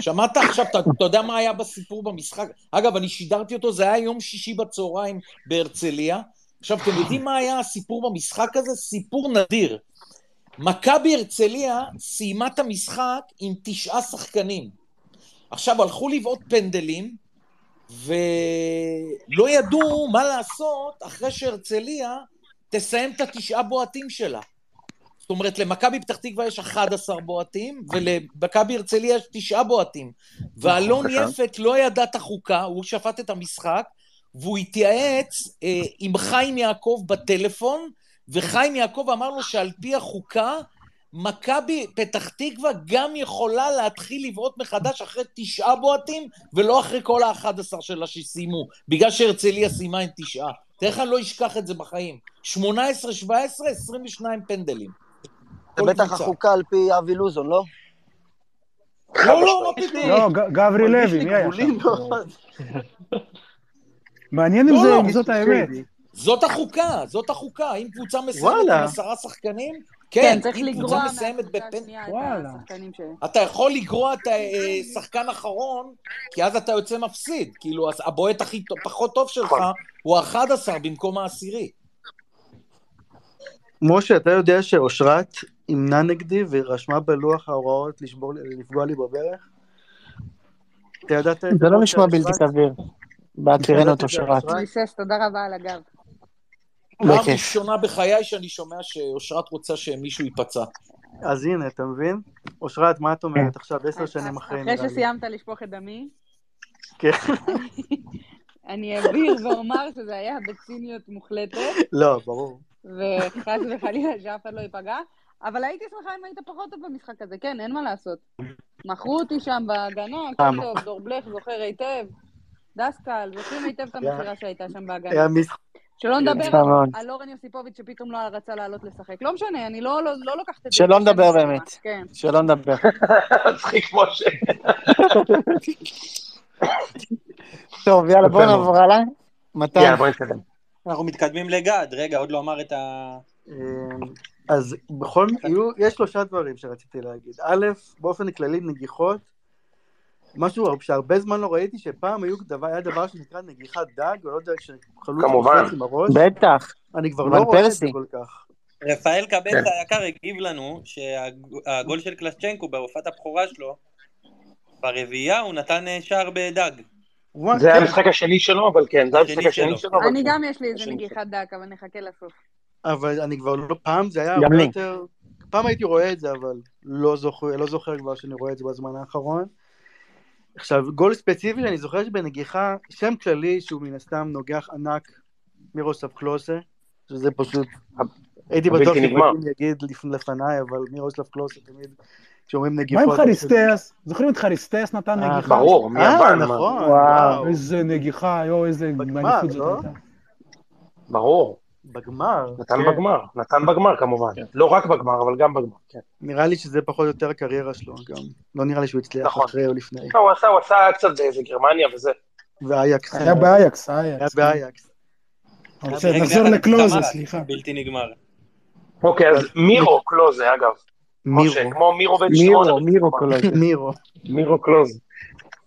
שמעת עכשיו, אתה, אתה יודע מה היה בסיפור במשחק? אגב, אני שידרתי אותו, זה היה יום שישי בצהריים בהרצליה. עכשיו, אתם יודעים מה היה הסיפור במשחק הזה? סיפור נדיר. מכבי הרצליה סיימה את המשחק עם תשעה שחקנים. עכשיו, הלכו לבעוט פנדלים, ולא ידעו מה לעשות אחרי שהרצליה תסיים את התשעה בועטים שלה. זאת אומרת, למכבי פתח תקווה יש 11 בועטים, ולמכבי הרצליה יש תשעה בועטים. ואלון נכון. יפת לא ידע את החוקה, הוא שפט את המשחק, והוא התייעץ אה, עם חיים יעקב בטלפון, וחיים יעקב אמר לו שעל פי החוקה, מכבי פתח תקווה גם יכולה להתחיל לבעוט מחדש אחרי תשעה בועטים, ולא אחרי כל האחד עשר שלה שסיימו, בגלל שהרצליה סיימה עם תשעה. תאר לך, אני לא אשכח את זה בחיים. 18, 17, 22 פנדלים. זה כל בטח קבוצה. החוקה על פי אבי לוזון, לא? לא, לא, מה פתאום. לא, ג- גברי מרגיש לוי, לי מי היה גבולי שם? מאוד. מעניין אם לא, זה- לא. אם זאת האמת. זאת החוקה, זאת החוקה. אם קבוצה מסיימת וואלה. עם עשרה שחקנים, כן, כן, צריך אם לגרוע קבוצה מסיימת מהקבוצה בפנדל... השנייה את וואלה. השחקנים שלהם. אתה יכול לגרוע את השחקן האחרון, כי אז אתה יוצא מפסיד. כאילו, אז הבועט הכי טוב- פחות טוב שלך נכון. הוא ה-11 במקום העשירי. משה, אתה יודע שאושרת ימנה נגדי ורשמה בלוח ההוראות לשבור לי- לפגוע לי בברך? אתה ידעת את זה לא משה, נשמע בלתי אושרת? סביר. בהכירנו ידעתי אותו את זה, שרת. אושרת. מויסס, תודה רבה על הגב. פעם בכיף. ראשונה בחיי שאני שומע שאושרת רוצה שמישהו ייפצע. אז הנה, אתה מבין? אושרת, מה את כן. אומרת עכשיו, עשר שנים אחרי, נראה אחרי לי? שסיימת לשפוך את דמי, כן. אני אבהיר ואומר שזה היה בציניות מוחלטת, לא, ברור. וחס וחלילה שאף אחד לא ייפגע, אבל הייתי שמחה אם היית פחות טוב במשחק הזה, כן, אין מה לעשות. מכרו אותי שם בהגנה, הכל למה? טוב, דורבלך זוכר היטב, דסקל, זוכרים היטב את המכירה שהייתה שם בהגנה. היה משחק. שלא נדבר יפה מאוד. על אורן יוסיפוביץ' שפתאום לא רצה לעלות לשחק. לא משנה, אני לא, לא, לא לוקחת את זה. שלא כשאני נדבר מסכימה. באמת. כן. שלא נדבר. מצחיק משה. טוב, יאללה, בואו יפה מאוד. נעבור הלאה. מתן, יאללה, בוא נתקדם. אנחנו מתקדמים לגד. רגע, עוד לא אמר את ה... אמ, אז בכל מקרה, יש שלושה דברים שרציתי להגיד. א', באופן כללי נגיחות, משהו שהרבה זמן לא ראיתי, שפעם היו דבר, היה דבר שנקרא נגיחת דג, או לא יודע, כשחלוץ כמובן. קופץ עם הראש, בטח. אני כבר אבל לא רואה את זה פרסי. כל כך. רפאל כן. קבסה היקר הגיב לנו שהגול של קלצ'נקו בהופעת הבכורה שלו, ברביעייה הוא נתן אה, שער בדג. וואי, זה היה כן, המשחק השני שלו, אבל כן, לא? זה היה השני המשחק השני שלו. שלו. אבל אני כן. גם יש לי איזה השני נגיחת דק, אבל נחכה לסוף. אבל אני כבר לא, פעם זה היה גם הרבה לי. יותר, פעם הייתי רואה את זה, אבל לא זוכר, לא זוכר כבר שאני רואה את זה בזמן האחרון. עכשיו, גול ספציפי שאני זוכר שבנגיחה, שם כללי שהוא מן הסתם נוגח ענק מירוסלב קלוסה, שזה פשוט, הייתי הבלתי בטוח נגמר. שברקים יגיד לפ- לפניי, אבל מירוסלב קלוסה תמיד, כשאומרים מה נגיחות... עם חריסטס? זוכרים את חריסטס נתן אה, נגיחה? ברור, מיוון, אה, מה. נכון, וואו. וואו, איזה נגיחה, יואו, איזה בגמר, מעניפות זאת לא? הייתה. ברור. בגמר. נתן כן. בגמר, נתן בגמר כמובן. לא רק בגמר, אבל גם בגמר. כן. נראה לי שזה פחות או יותר הקריירה שלו גם, לא נראה לי שהוא הצליח נכון. אחרי או לפני. לא, הוא עשה, הוא עשה קצת באיזה גרמניה וזה. ואייקס. היה באייקס, היה אייקס. כן. באייקס. אבל בסדר, נחזור אה, לקלוזה, סליחה. בלתי נגמר. אוקיי, אז מירו קלוזה, אגב. משה, כמו מירו בן שמונה. מירו, מירו קלוזה. מירו. מירו קלוזה.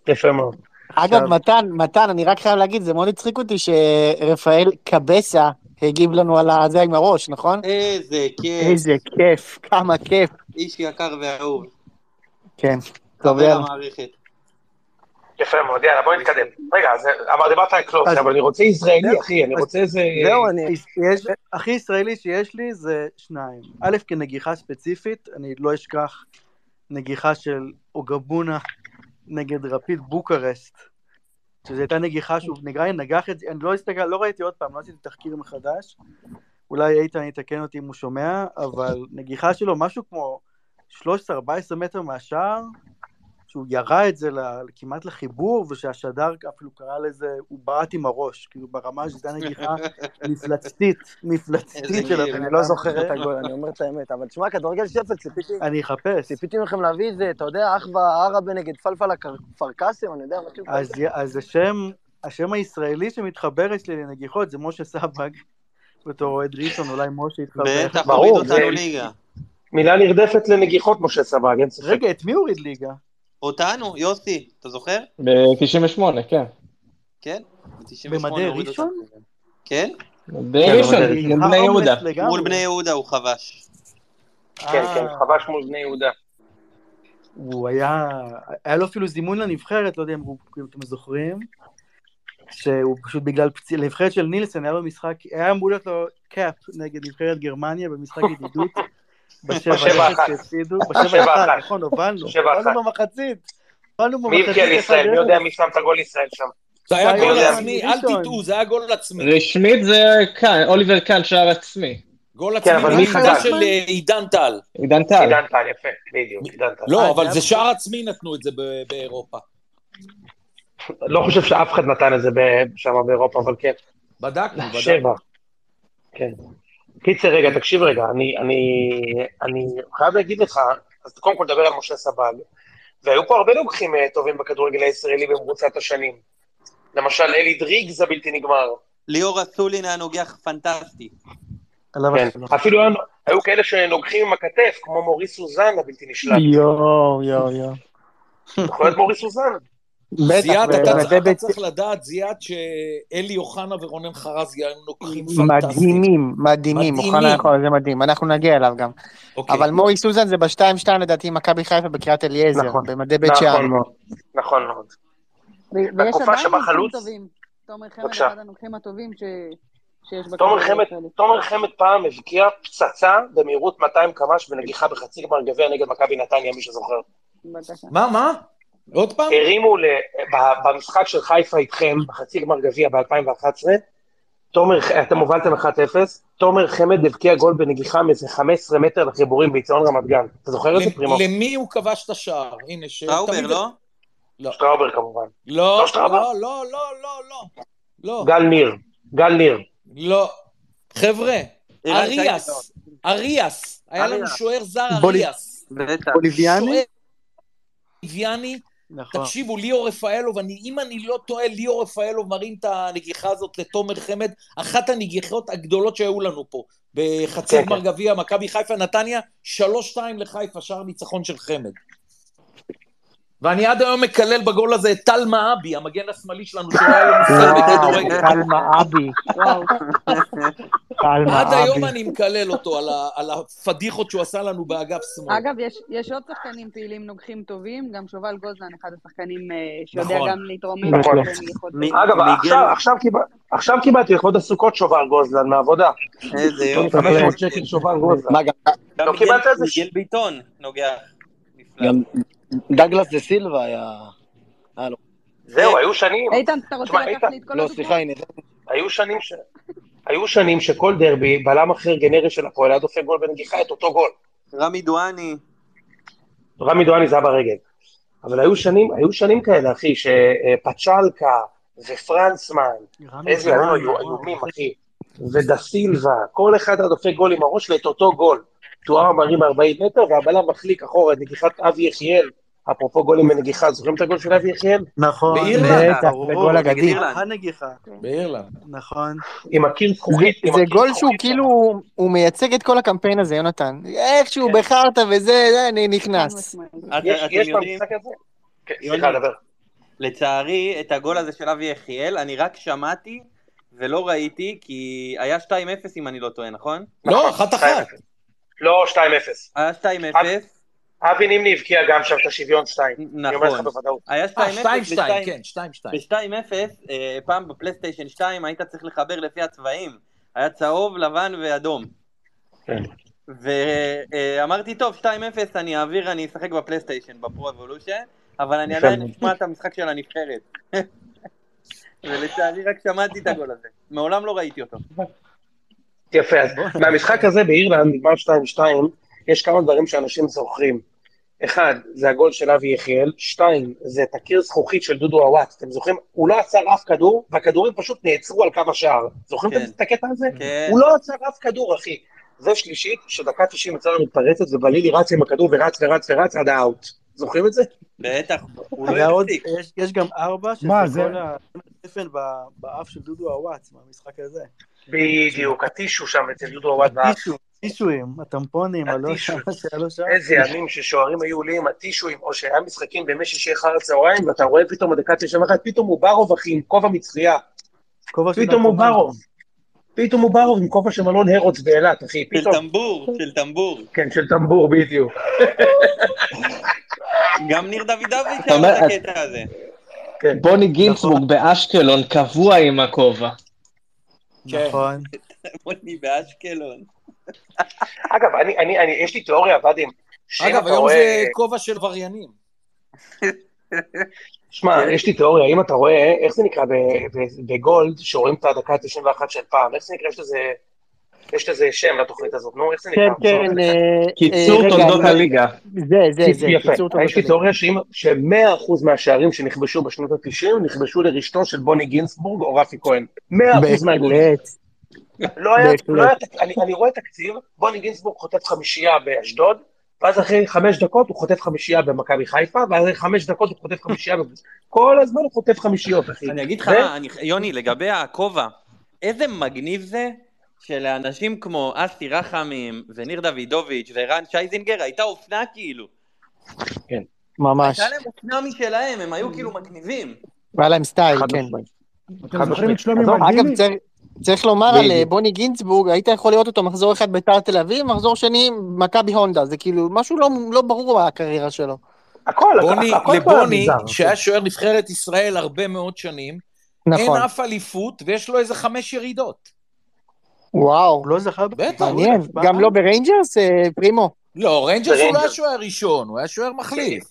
יפה מאוד. אגב, מתן, מתן, אני רק חייב להגיד, זה מאוד הצחיק אותי שרפאל קבסה הגיב לנו על הזה עם הראש, נכון? אה, איזה כיף, איזה כיף, כמה כיף. איש יקר ואהוב. כן, טוב, חבר יאללה. המערכת. יפה מאוד, יאללה, בוא נתקדם. רגע, אז אבל דיברת על אז- קלוזה, אבל אני רוצה ישראלי, זהו. אחי, אני אז- רוצה איזה... זהו, אני... יש, הכי ישראלי שיש לי זה שניים. א', כנגיחה ספציפית, אני לא אשכח נגיחה של אוגבונה נגד רפיד בוקרשט, שזו הייתה נגיחה שהוא נגרני נגח את זה, אני לא הסתכל, לא ראיתי עוד פעם, לא עשיתי תחקיר מחדש, אולי איתן יתקן אותי אם הוא שומע, אבל נגיחה שלו משהו כמו 13-14 מטר מהשער, שהוא ירה את זה ל- כמעט לחיבור, ושהשדר אפילו קרא לזה, הוא בעט עם הראש, כאילו ברמה שזו הייתה נגיחה מפלצתית, מפלצתית איזה של כיף. הבן אני אדם לא זוכר הזה. את הגול, אני אומר את האמת, אבל תשמע, כדורגל שפל, ציפיתי... אני אחפש. ציפיתי מכם להביא איזה, אתה יודע, אחווה ערבה נגד פלפלה כר- כפר קאסם, אני יודע, משהו כזה. אז, י- אז השם, השם הישראלי שמתחבר אצלי לנגיחות זה משה סבג, בתור אוהד ראשון, אולי משה יתחבר. בטח ברור, הוריד אותנו זה- ליגה. מילה נרדפת לנגיחות, משה סבג, אין ספק. רגע, את מי הוריד ליגה? אותנו, יוסי, אתה זוכר? ב-98, כן. כן? ב-98 במדי הוריד אותנו. ראשון? כן? בראשון, אבל זה מול בני יהודה. הומלס לגמרי. מול בני יהודה הוא חבש. כן, אה, כן, חבש מול בני יהודה. הוא היה, היה לו אפילו זימון לנבחרת, לא יודע אם הוא- אם אתם זוכרים, שהוא פשוט בגלל פציעה, לנבחרת של נילסון היה לו משחק, היה אמור להיות לו קאפ נגד נבחרת גרמניה במשחק ידידות. בשבע בשבע אפס אחת. שהפסידו, בשבע בשבע אחת, אחת. נכון, הובלנו, בשבע אחת. הובלנו במחצית, הובלנו מי במחצית, הבקיע לישראל? מי אחד יודע אפס. מי שם את הגול לישראל שם? זה היה מי גול יודע? עצמי, אל ראשון. תטעו, זה היה גול עצמי. רשמית זה כאן, אוליבר כאן שער עצמי. גול כן, עצמי אבל מי מעמדה חגג? של אה, עידן טל. עידן טל. עידן טל, יפה, בדיוק, עידן טל. אה, לא, זה אבל זה היה- שער עצמי נתנו את זה ב- באירופה. לא חושב שאף אחד נתן את זה ב- שם באירופה, אבל כן. בדקנו, בדקנו. שבע. כן. קיצר, רגע, תקשיב רגע, אני, אני, אה, אני חייב להגיד לך, אז קודם כל נדבר על משה סבג, והיו פה הרבה לוקחים אה, טובים בכדורגל הישראלי במרוצת השנים. למשל, אלי דריגס הבלתי נגמר. ליאור אסולין היה נוגח פנטסטי. עליו כן. השלום. אפילו היו- היו כאלה שנוגחים עם הכתף, כמו מורי סוזן הבלתי נשלט. יואו, יואו, יואו. יכול להיות מורי סוזן? בטח, זיאד, אתה ו- צ- אתה ודבת- צריך לדעת, זיאד, שאלי אוחנה ורונן חרז היו נוקחים פנטסטיים. מדהימים, מדהימים, מדהימים. אוחנה יכול, זה מדהים, אנחנו נגיע אליו גם. אוקיי. אבל מורי סוזן זה ב-2-2 לדעתי, מכבי חיפה בקריית אליעזר, נכון. במדי בית שער. נכון מאוד. נכון מאוד. ו- ויש בתקופה עדיין שבה נוקחים חלוץ- טובים. תומר חמד, בבקשה. אחד הנוקחים הטובים ש... שיש תומר בכדורגל חמד, הישראלי. תומר חמד פעם הבקיע פצצה במהירות 200 קמ"ש בנגיחה בחצי גמר גביע נגד מכבי נתניה, מי שזוכר. בבקשה. מה, מה? עוד פעם? הרימו ל... ב- במשחק של חיפה איתכם, בחצי גמר גביע ב-2011, תומר, ח- אתם הובלתם 1-0, תומר חמד הבקיע גול בנגיחה מאיזה 15 מטר לחיבורים ביציון רמת גן. אתה זוכר את זה, פרימו? למ- למי הוא כבש את השער? הנה, ש... טראובר, תמיד- לא? לא. שטראובר כמובן. לא, לא שטראובר? לא, לא, לא, לא, לא. לא, גל ניר, גל ניר. לא. חבר'ה, ערן אריאס, אריאס. היה לנו אריאס. שוער זר בוא נ- אריאס. בטח. אוליביאני? שוער ליביאני. נכון. תקשיבו, ליאור רפאלוב, אני, אם אני לא טועה, ליאור רפאלוב מרים את הנגיחה הזאת לתומר חמד, אחת הנגיחות הגדולות שהיו לנו פה. בחצי כן, גמר כן. גביע, מכבי חיפה, נתניה, 3-2 לחיפה, שער ניצחון של חמד. ואני עד היום מקלל בגול הזה את טל מאבי, המגן השמאלי שלנו, שלא היה לו אה, מושג וואו, בכדורגל. טל מאבי, וואו. טל עד היום מאבי. אני מקלל אותו על ה- על הפדיחות שהוא עשה לנו באגף שמאל. אגב, יש, יש עוד שחקנים פעילים נוגחים טובים, גם שובל גוזלן, אחד השחקנים אה, שיודע נכון. גם להתרומם נכון. בנגיחות מי- טובות. אגב, מיגל- עכשיו, עכשיו, קיבל, עכשיו קיבלתי לכבוד הסוכות שובר גוזלן מהעבודה. איזה יופי. 500 שקל שובר גוזלן. מה, גם- גם לא מיגל- קיבלת איזה ש- מיגל ביטון נוגח. נפלא. גם דגלס דה סילבה היה... אה, לא. זהו, היו שנים. איתן, אתה רוצה תשמע, לקחת איתן, לי את כל לא, הדוגמאות? סליחה, הנה, זה- היו שנים ש... היו שנים שכל דרבי, בלם אחר גנרי של הפועל היה דופק גול בנגיחה את אותו גול. רמי דואני. רמי דואני זה היה ברגל. אבל היו שנים, היו שנים כאלה, אחי, שפצ'לקה ופרנסמן, רמי איזה היו דואני, היו- וואו. איומים, אחי, ודה סילבה, כל אחד היה דופק גול עם הראש ואת אותו גול. תואר מרים 40 מטר, והבלם מחליק אחורה את נגיחת אבי יחיאל, אפרופו גולים בנגיחה, זוכרים את הגול של אבי יחיאל? נכון. באירלנד, בטח, זה גול ברור. אגדי. הנגיחה. באירלנד. נכון. עם הקיר זכוכית. עם זה הקיר גול שהוא זכוכית. כאילו, הוא מייצג את כל הקמפיין הזה, יונתן. איכשהו כן. בחרת וזה, זה, אני נכנס. משמעית. את- יש- יש אתם יודעים, במשחק הזה? כן, יוני. סליחה, דבר. לצערי, את הגול הזה של אבי יחיאל, אני רק שמעתי ולא ראיתי, כי היה 2-0 אם אני לא טועה, נכון? לא, נכון, אחת אחת. 2-0. לא, 2-0. היה 2-0, אבי נימני הבקיע גם שם את השוויון 2. אני אומר לך נכון. בוודאות. היה 2-0, אה, שתיים שתיים, ב-2-0, כן, שתיים שתיים. ב-2-0, אה, פעם בפלייסטיישן 2 היית צריך לחבר לפי הצבעים. היה צהוב, לבן ואדום. כן. ואמרתי, טוב, 2-0 אני אעביר, אני אשחק בפלייסטיישן, בפרו אבולושן, אבל אני עדיין אשמע את המשחק של הנבחרת. ולצערי רק שמעתי את הגול הזה. מעולם לא ראיתי אותו. יפה, אז מהמשחק הזה באירלנד, נגמר 2-2, יש כמה דברים שאנשים זוכרים. אחד, זה הגול של אבי יחיאל, שתיים, זה את הקיר זכוכית של דודו עוואט, אתם זוכרים? הוא לא עצר אף כדור, והכדורים פשוט נעצרו על קו השער. זוכרים כן. אתם את הקטע הזה? כן. הוא לא עצר אף כדור, אחי. זה שלישית, שדקה 90 יצאה מתפרצת, ובלילי רץ עם הכדור ורץ ורץ ורץ עד האאוט. זוכרים את זה? בטח, הוא היה לא עוד, הפסיק. יש- יש גם ארבע, שזה מה, זה- כל הגפן באף של דודו עוואט, מהמשחק הזה. בדיוק, הטישו שם אצל דודו עוואט אה. באף. הטישו, הטישואים, הטמפונים, הלא הטישו. שעה, שלא שעה. איזה ימים ששוערים היו עולים עם הטישואים, או שהיה משחקים בימי שישי אחר הצהריים, ואתה רואה פתאום בדקה תשעים ואחת, פתאום הוא ברוב, אחי, עם כובע מצחייה. כובע של פתאום הוא נרקומן. ברוב. פתאום הוא ברוב עם כובע של מלון הרוץ באילת, אחי. של פתאום, טמבור, של טמבור. כן, של טמבור, בדיוק. גם ניר דוידוביץ' אתה אומר, היה בקטע הזה. כן. בוני גינצבורג באשקלון קבוע עם הכובע. כן. נכון. מוני באשקלון. אגב, אני, אני, אני, יש לי תיאוריה, ואדים. שאם אגב, אתה היום רואה- זה כובע של עבריינים. שמע, כן. יש לי תיאוריה, אם אתה רואה, איך זה נקרא ב- ב- בגולד, שרואים את הדקה ה-91 של פעם, איך זה נקרא, יש לזה... יש לזה שם לתוכנית הזאת, נו, איך זה נקרא? כן, כן. אה, קיצור אה, רגע, תולדות אני- הליגה. זה, זה, זה, יפה. קיצור תולדות יש לי הליגה. תיאוריה שאם- ש-100% מהשערים שנכבשו בשנות ה-90 נכבשו לרשתו של בוני גינצבורג או רפי כהן. 100% מהגולים. בהחלט. לא היה, בהחלט. לא היה, תק- אני, אני רואה תקציב, בוני גינצבורג חוטף חמישייה באשדוד, ואז אחרי חמש דקות הוא חוטף חמישייה במכבי חיפה, ואז אחרי חמש דקות הוא חוטף חמישייה, ב... כל הזמן הוא חוטף חמישיות, אחי. אני אגיד לך ו- מה, אני- יוני, לגבי הכובע, איזה מגניב זה שלאנשים כמו אסי רחמים וניר דוידוביץ' ורן שייזינגר הייתה אופנה כאילו. ממש. הייתה להם אופנה משלהם, הם Mm. היו כאילו מגניבים. לא והיה להם סטייל, חד כן. משמעית. אתם זוכרים חד את משמעית. שלומי עזוב, מלדיני? אגב, צריך- צריך לומר על אה, בדיוק. בוני גינצבורג, היית יכול לראות אותו מחזור אחד ביתר תל אביב, מחזור שני מכבי הונדה, זה כאילו משהו לא- לא ברור מהקריירה שלו. הכל, בוני, הכ- הכל פה היה לבוני, מוזר. שהיה שוער נבחרת ישראל הרבה מאוד שנים, אין נכון. אף אליפות ויש לו איזה חמש ירידות. וואו, הוא לא זכה בטח. באליפות מעניין. אף פעם? גם לא בריינג'רס, אה, פרימו? לא, ריינג'רס הוא לא זה היה ריינג'רס. שוער ראשון, הוא היה שוער מחליף.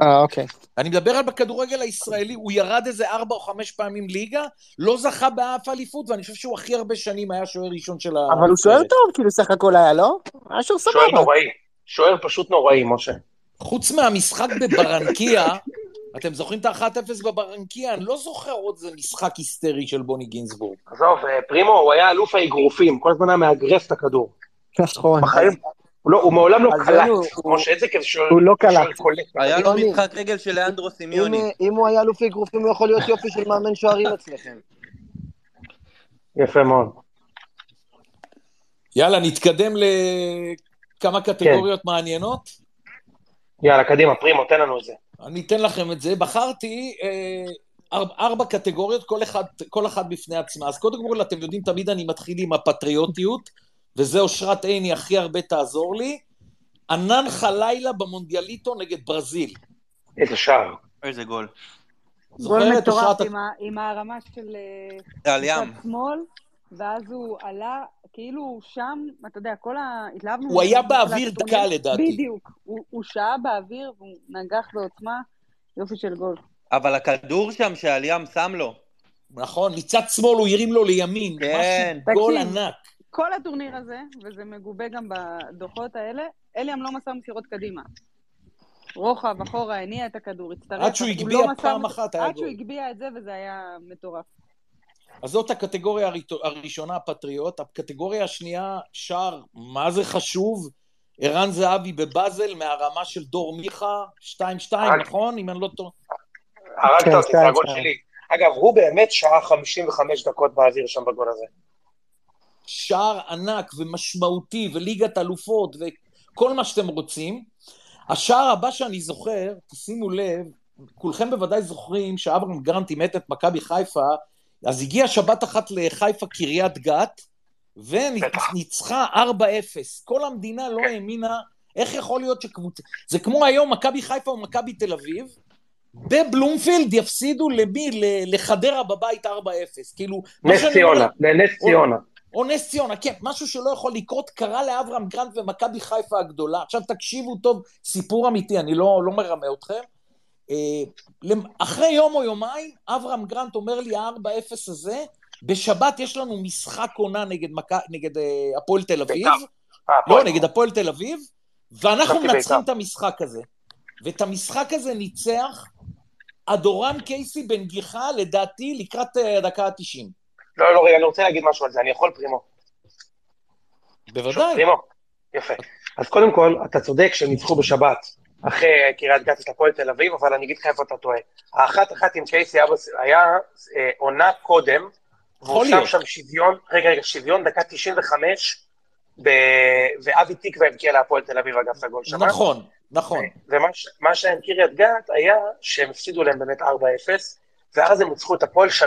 אה, אוקיי. אני מדבר על בכדורגל הישראלי, הוא ירד איזה ארבע או חמש פעמים ליגה, לא זכה באף אליפות, ואני חושב שהוא הכי הרבה שנים היה שוער ראשון של הנבחרת. אבל הוא שוער טוב, כאילו, סך הכל היה, לא? היה שוער שוער סבבה. נוראי. שוער פשוט נוראי, משה. חוץ מהמשחק בברנקיה, אתם זוכרים את ה-1-0 בברנקיה? אני לא זוכר עוד איזה משחק היסטרי של בוני גינזבורג. עזוב, אה, פרימו, הוא היה אלוף האגרופים, כל הזמן היה מאגרף את הכדור. נכון. בחיים, הוא, לא, הוא מעולם לא אז קלט. יוני, הוא- משה, איזה כיף שוער הוא לא שוער קלט. קולט. היה לו יוני. לא משחק רגל של לאנדרו אם, סמיוני. אם הוא היה אלוף אגרופים, הוא יכול להיות יופי של מאמן שוערים אצלכם. יפה מאוד. יאללה, נתקדם לכמה קטגוריות כן. מעניינות. יאללה, קדימה, פרימו, תן לנו את זה. אני אתן לכם את זה. בחרתי אה, ארבע, ארבע קטגוריות, כל, אחד, כל אחת בפני עצמה. אז קודם כל, אתם יודעים, תמיד אני מתחיל עם הפטריוטיות, וזה אושרת עיני הכי הרבה תעזור לי. ענן חלילה במונדיאליטו נגד ברזיל. איזה שער. איזה גול. גול זוכרת, מטורף אושרת? עם ה- עם הרמה של אה, על ים. מצד שמאל, ואז הוא עלה, כאילו שם, אתה יודע, כל ה... התלהבנו. הוא היה ממנו בתחילת באוויר הטורניר. דקה, לדעתי. בדיוק. הוא הוא שהה באוויר והוא נגח בעוצמה. יופי של גול. אבל הכדור שם שעל ים שם לו. נכון, מצד שמאל הוא הרים לו לימין. כן. משהו, גול תקשיב. ענק. כל הטורניר הזה, וזה מגובה גם בדוחות האלה, אליאם לא מסר מסירות קדימה. רוחב, אחורה, הניע את הכדור, הצטרף. עד שהוא הוא הגביה לא מסר פעם מס- אחת היה עד שהוא גול. הגביה את זה, וזה היה מטורף. אז זאת הקטגוריה הריטו- הראשונה, הפטריוט. הקטגוריה השנייה, שער, מה זה חשוב? ערן זהבי בבאזל מהרמה של דור מיכה, 2-2, נכון? אם אני לא טועה. כן, הרגת אותי, זה שתיים, הגול שתיים. שלי. אגב, הוא באמת שעה 55 דקות באוויר שם בגול הזה. שער ענק ומשמעותי וליגת אלופות וכל מה שאתם רוצים. השער הבא שאני זוכר, תשימו לב, כולכם בוודאי זוכרים שאברהם גרנט אימת את מכבי חיפה, אז הגיעה שבת אחת לחיפה קריית גת, וניצחה 4-0. כל המדינה לא כן. האמינה איך יכול להיות שקבוצה... זה כמו היום מכבי חיפה או מכבי תל אביב, בבלומפילד יפסידו למי? ל- לחדרה בבית 4-0. כאילו... מה נס שאני ציונה, אומר- לנס ציונה. או נס ציונה, כן, משהו שלא יכול לקרות, קרה לאברהם גרנט ומכבי חיפה הגדולה. עכשיו תקשיבו טוב, סיפור אמיתי, אני לא, לא מרמה אתכם. אה, למ- אחרי יום או יומיים, אברהם גרנט אומר לי, ה-4-0 הזה, בשבת יש לנו משחק עונה נגד, מק... נגד אה, הפועל תל אביב. בית"ר. אה, לא, הפועל. נגד הפועל תל אביב, ואנחנו חשבתי מנצחים את בית"ר. המשחק הזה. ואת המשחק הזה ניצח אדורם קייסי בנגיחה, לדעתי, לקראת אה, הדקה ה-90. לא, לא, רגע, אני רוצה להגיד משהו על זה, אני יכול פרימו. בוודאי. פרימו, יפה. אז קודם כל, אתה צודק שהם ניצחו בשבת אחרי קריית גת את הפועל תל אביב, אבל אני אגיד לך איפה אתה טועה. האחת אחת עם קייסי היה בס- היה אה, עונה קודם, והוא יכול שם להיות. שם שוויון, רגע, רגע, שוויון דקה 95, ב- ואבי תקווה הבקיע להפועל תל אביב אגב את הגול שם. נכון, נכון. ומה ש- מה שהיה עם קריית גת היה שהם הפסידו להם באמת 4-0, ואז הם ניצחו את הפועל 3-0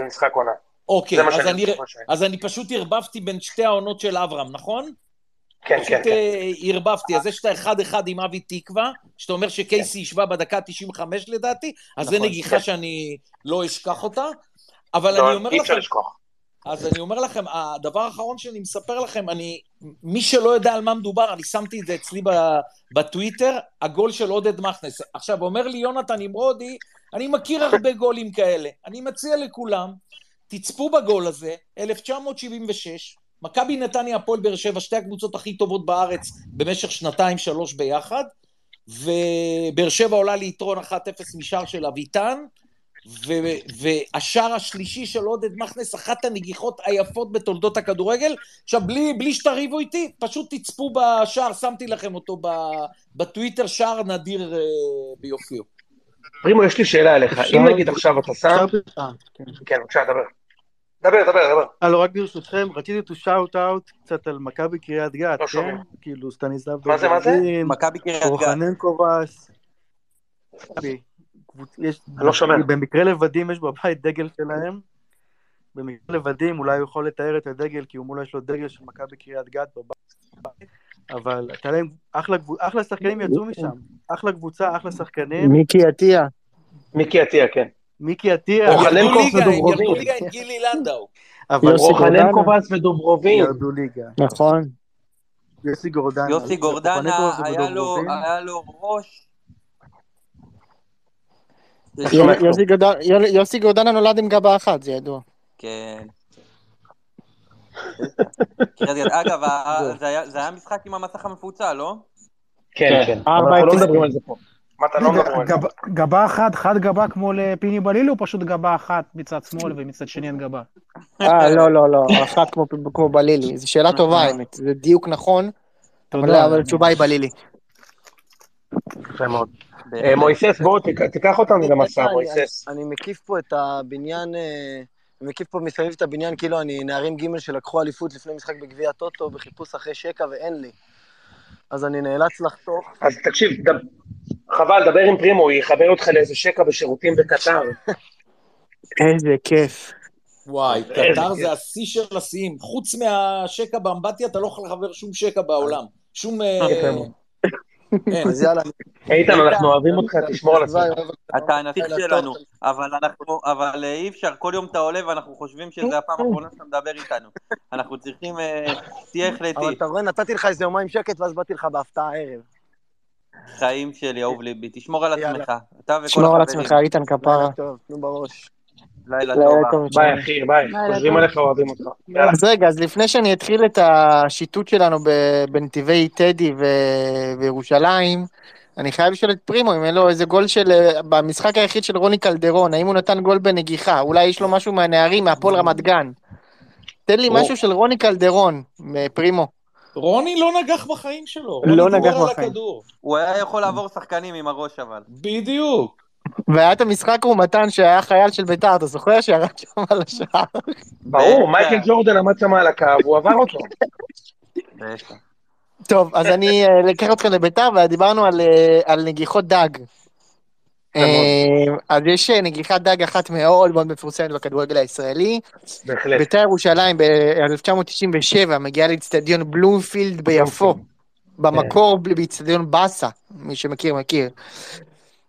במשחק עונה. אוקיי, זה מה אז שאני אני, חושב שהיה. אז אני פשוט ערבבתי בין שתי העונות של אברהם, נכון? כן, פשוט כן, כן. אה, ערבבתי, אז יש את האחד-אחד עם אבי תקווה, שאתה אומר שקייסי השווה בדקה 95 לדעתי, אז זה כן. נכון, נגיחה כן. שאני לא אשכח אותה, אבל לא, אני אומר אי אפשר לכם, לשכוח. אז אני אומר לכם, הדבר האחרון שאני מספר לכם, אני, מי שלא יודע על מה מדובר, אני שמתי את זה אצלי ב- בטוויטר, הגול של עודד מכנס. עכשיו, אומר לי יונתן נמרודי, אני מכיר הרבה גולים כאלה. אני מציע לכולם, תצפו בגול הזה, 1976, מכבי נתניה, הפועל באר שבע, שתי הקבוצות הכי טובות בארץ במשך שנתיים-שלוש ביחד, ובאר שבע עולה ליתרון 1-0 משער של אביטן, ו- והשער השלישי של עודד מכנס, אחת הנגיחות היפות בתולדות הכדורגל. עכשיו, בלי, בלי שתריבו איתי, פשוט תצפו בשער, שמתי לכם אותו ב- בטוויטר, שער נדיר אה, ביופיו. פרימו, יש לי שאלה אליך. אפשר- אם נגיד עכשיו אתה שם... אפשר ב- אה, כן. כן, בבקשה, דבר. דבר, דבר, דבר. הלו, רק ברשותכם, רציתי to shout out קצת על מכבי קריית גת, לא כן? שומעים. כאילו, סטניסלב מה זה, מה זה? בגרזין, מכבי קריית גת. רוחנן קובס. קבוצ- יש- כאילו, אני לא שומע. במקרה לבדים יש בבית דגל שלהם. במקרה לבדים אולי הוא יכול לתאר את הדגל, כי הוא מולה יש לו דגל של מכבי קריית גת בבית. אבל הייתה להם אחלה, קבוצ- אחלה שחקנים יצאו משם. אחלה קבוצה, אחלה שחקנים. מיקי עטיה. מיקי עטיה, כן. מיקי עטיה, הם רוחנן ירדו קורס ליגה, הם ירדו ודוברובין. ליגה עם גילי לנדאו. אבל יוסי רוחנן גורדנה. קובץ ודוברובין. ירדו ליגה. נכון. יוסי גורדנה. יוסי גורדנה, רוחננקוב היה לו- ודוברובין. היה לו ראש... לא של- שומע יו- יוסי גורדנה- יו- יוסי גורדנה נולד עם גבה אחת, זה ידוע. כן. קריית גת. אגב, ה- זהו. זה היה- זה היה משחק עם המסך המפוצל, לא? כן, כן. אבל ארבע אנחנו לא אפס. מדברים על זה פה. מה אתה לא מדבר על זה? גב- גבה אחת, חד גבה כמו לפיני בליל, או פשוט גבה אחת מצד שמאל ומצד שני אין גבה? אה, לא, לא, לא, אחת כמו- כמו בלילי. זו שאלה טובה, האמת. זה דיוק נכון, אבל תודה. אבל אני- התשובה היא בלילי. יפה מאוד. בהחלט. אה, מויסס, בוא, תק- תיקח אותנו למסע, אני- מויסס. אני מקיף פה את הבניין, אה, אני מקיף פה מסביב את הבניין, כאילו אני נערים ג' שלקחו אליפות לפני משחק בגביע הטוטו בחיפוש אחרי שקע ואין לי. אז אני נאלץ לחתוך. אז תקשיב, ד- חבל, דבר עם פרימו, הוא יחבר אותך לאיזה שקע בשירותים בקטר. איזה כיף. וואי, איזה קטר כיף. זה השיא של השיאים. חוץ מהשקע באמבטיה, אתה לא יכול לחבר שום שקע בעולם. שום... אה, יפה מאוד. אין. אה, אז יאללה, כן. אה, איתן, איתן, אנחנו אוהבים אותך, תשמור על עצמך. אתה הנסיך שלנו, אבל אנחנו, אבל אה, אי אפשר, כל יום אתה עולה ואנחנו חושבים שזו הפעם האחרונה שאתה מדבר איתנו. אנחנו צריכים, אה, תהיה אבל החלטי. אתה רואה, נתתי לך איזה יומיים שקט ואז באתי לך בהפתעה הערב. חיים שלי, אהוב ליבי, תשמור על יאללה. עצמך, אתה וכל שמור על החברים. עצמך, איתן כפרה. לילה טוב, תנו בראש. לילה טוב. לילה אח. טוב, ביי, שלום. אחי, ביי. יאללה, חושבים טוב. עליך, אוהבים אותך. אה, יאללה. אז רגע, אז לפני שאני אתחיל את השיטוט שלנו ב- בנתיבי טדי ו- וירושלים, אני חייב לשאול את פרימו אם אין לו איזה גול של... אה, במשחק היחיד של רוני קלדרון, האם הוא נתן גול בנגיחה? אולי יש לו משהו מהנערים, מהפועל רמת גן. תן לי הוא- משהו של רוני קלדרון, אה, פרימו. רוני לא נגח בחיים שלו. לא רוני נגח גורר על בחיים. הכדור. הוא היה יכול לעבור שחקנים עם הראש אבל. בדיוק. והיה את המשחק הוא מתן שהיה חייל של ביתר, אתה זוכר שירד שם על השער? בטח. ברור, מייקל ג'ורדן עמד שם על הקו, הוא עבר אותו. בטח. טוב, אז אני אה, אקח אתכם לביתר, ודיברנו על, אה, על נגיחות דג. נכון. אה, אז יש אה, נגיחת דג אחת מאוד מאוד מפורסמת בכדורגל הישראלי. בהחלט. ביתר ירושלים ב-1997 מגיעה לאיצטדיון בלומפילד ביפו. במקור כן. ב- באיצטדיון באסה, מי שמכיר מכיר.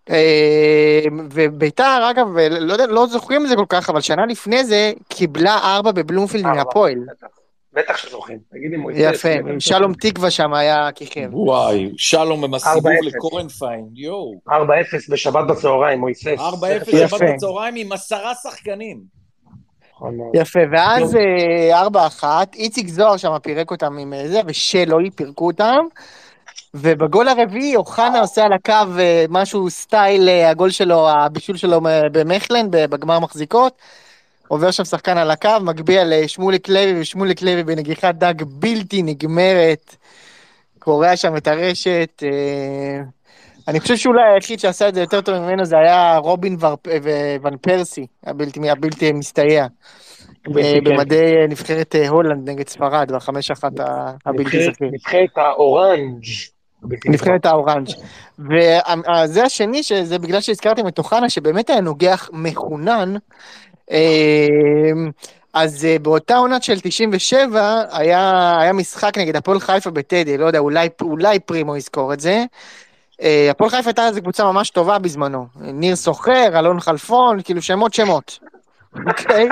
אה, וביתר, אגב, לא, יודע- לא זוכרים את זה כל כך, אבל שנה לפני זה קיבלה ארבע בבלומפילד ארבע. מהפועל. בטח. בטח שזוכרים, תגיד לי מויסס. יפה, בטח שלום תקווה שם היה כן. כיכב. וואי, שלום עם הסיבוב 4-0. לקורנפיין, יואו. 4-0 בשבת בצהריים, מויסס. 4-0 יפה. שבת בצהריים עם עשרה שחקנים. נכון מאוד. יפה, ואז אה, 4-1, איציק זוהר שם פירק אותם עם אה, זה, ושלוי פירקו אותם, ובגול הרביעי אוחנה עושה על הקו אה, משהו סטייל, אה, הגול שלו, הבישול שלו אה, במכלן, ב- בגמר מחזיקות, עובר שם שחקן על הקו, מגביה לשמוליק לוי, ושמוליק לוי בנגיחת דג בלתי נגמרת, קורע שם את הרשת. אה, אני חושב שאולי היחיד שעשה את זה יותר טוב ממנו זה היה רובין ור- ו- ון פרסי, הבלתי, הבלתי מסתייע. אה, במדי אה, נבחרת אה, הולנד נגד ספרד, בחמש אחת ה- הבלתי נבחרת- זכיר. נבחרת האורנג'. הבלתי נגמר. נבחרת האורנג'. וזה השני, שזה בגלל שהזכרתם את אוחנה, שבאמת היה נוגח מחונן. אה, אז אה, באותה עונת של 97 היה, היה משחק נגד הפועל חיפה בטדי, לא יודע, אולי, אולי פרימו יזכור את זה. אה, הפועל חיפה הייתה איזו קבוצה ממש טובה בזמנו. ניר סוחר, אלון חלפון, כאילו שמות שמות. אוקיי?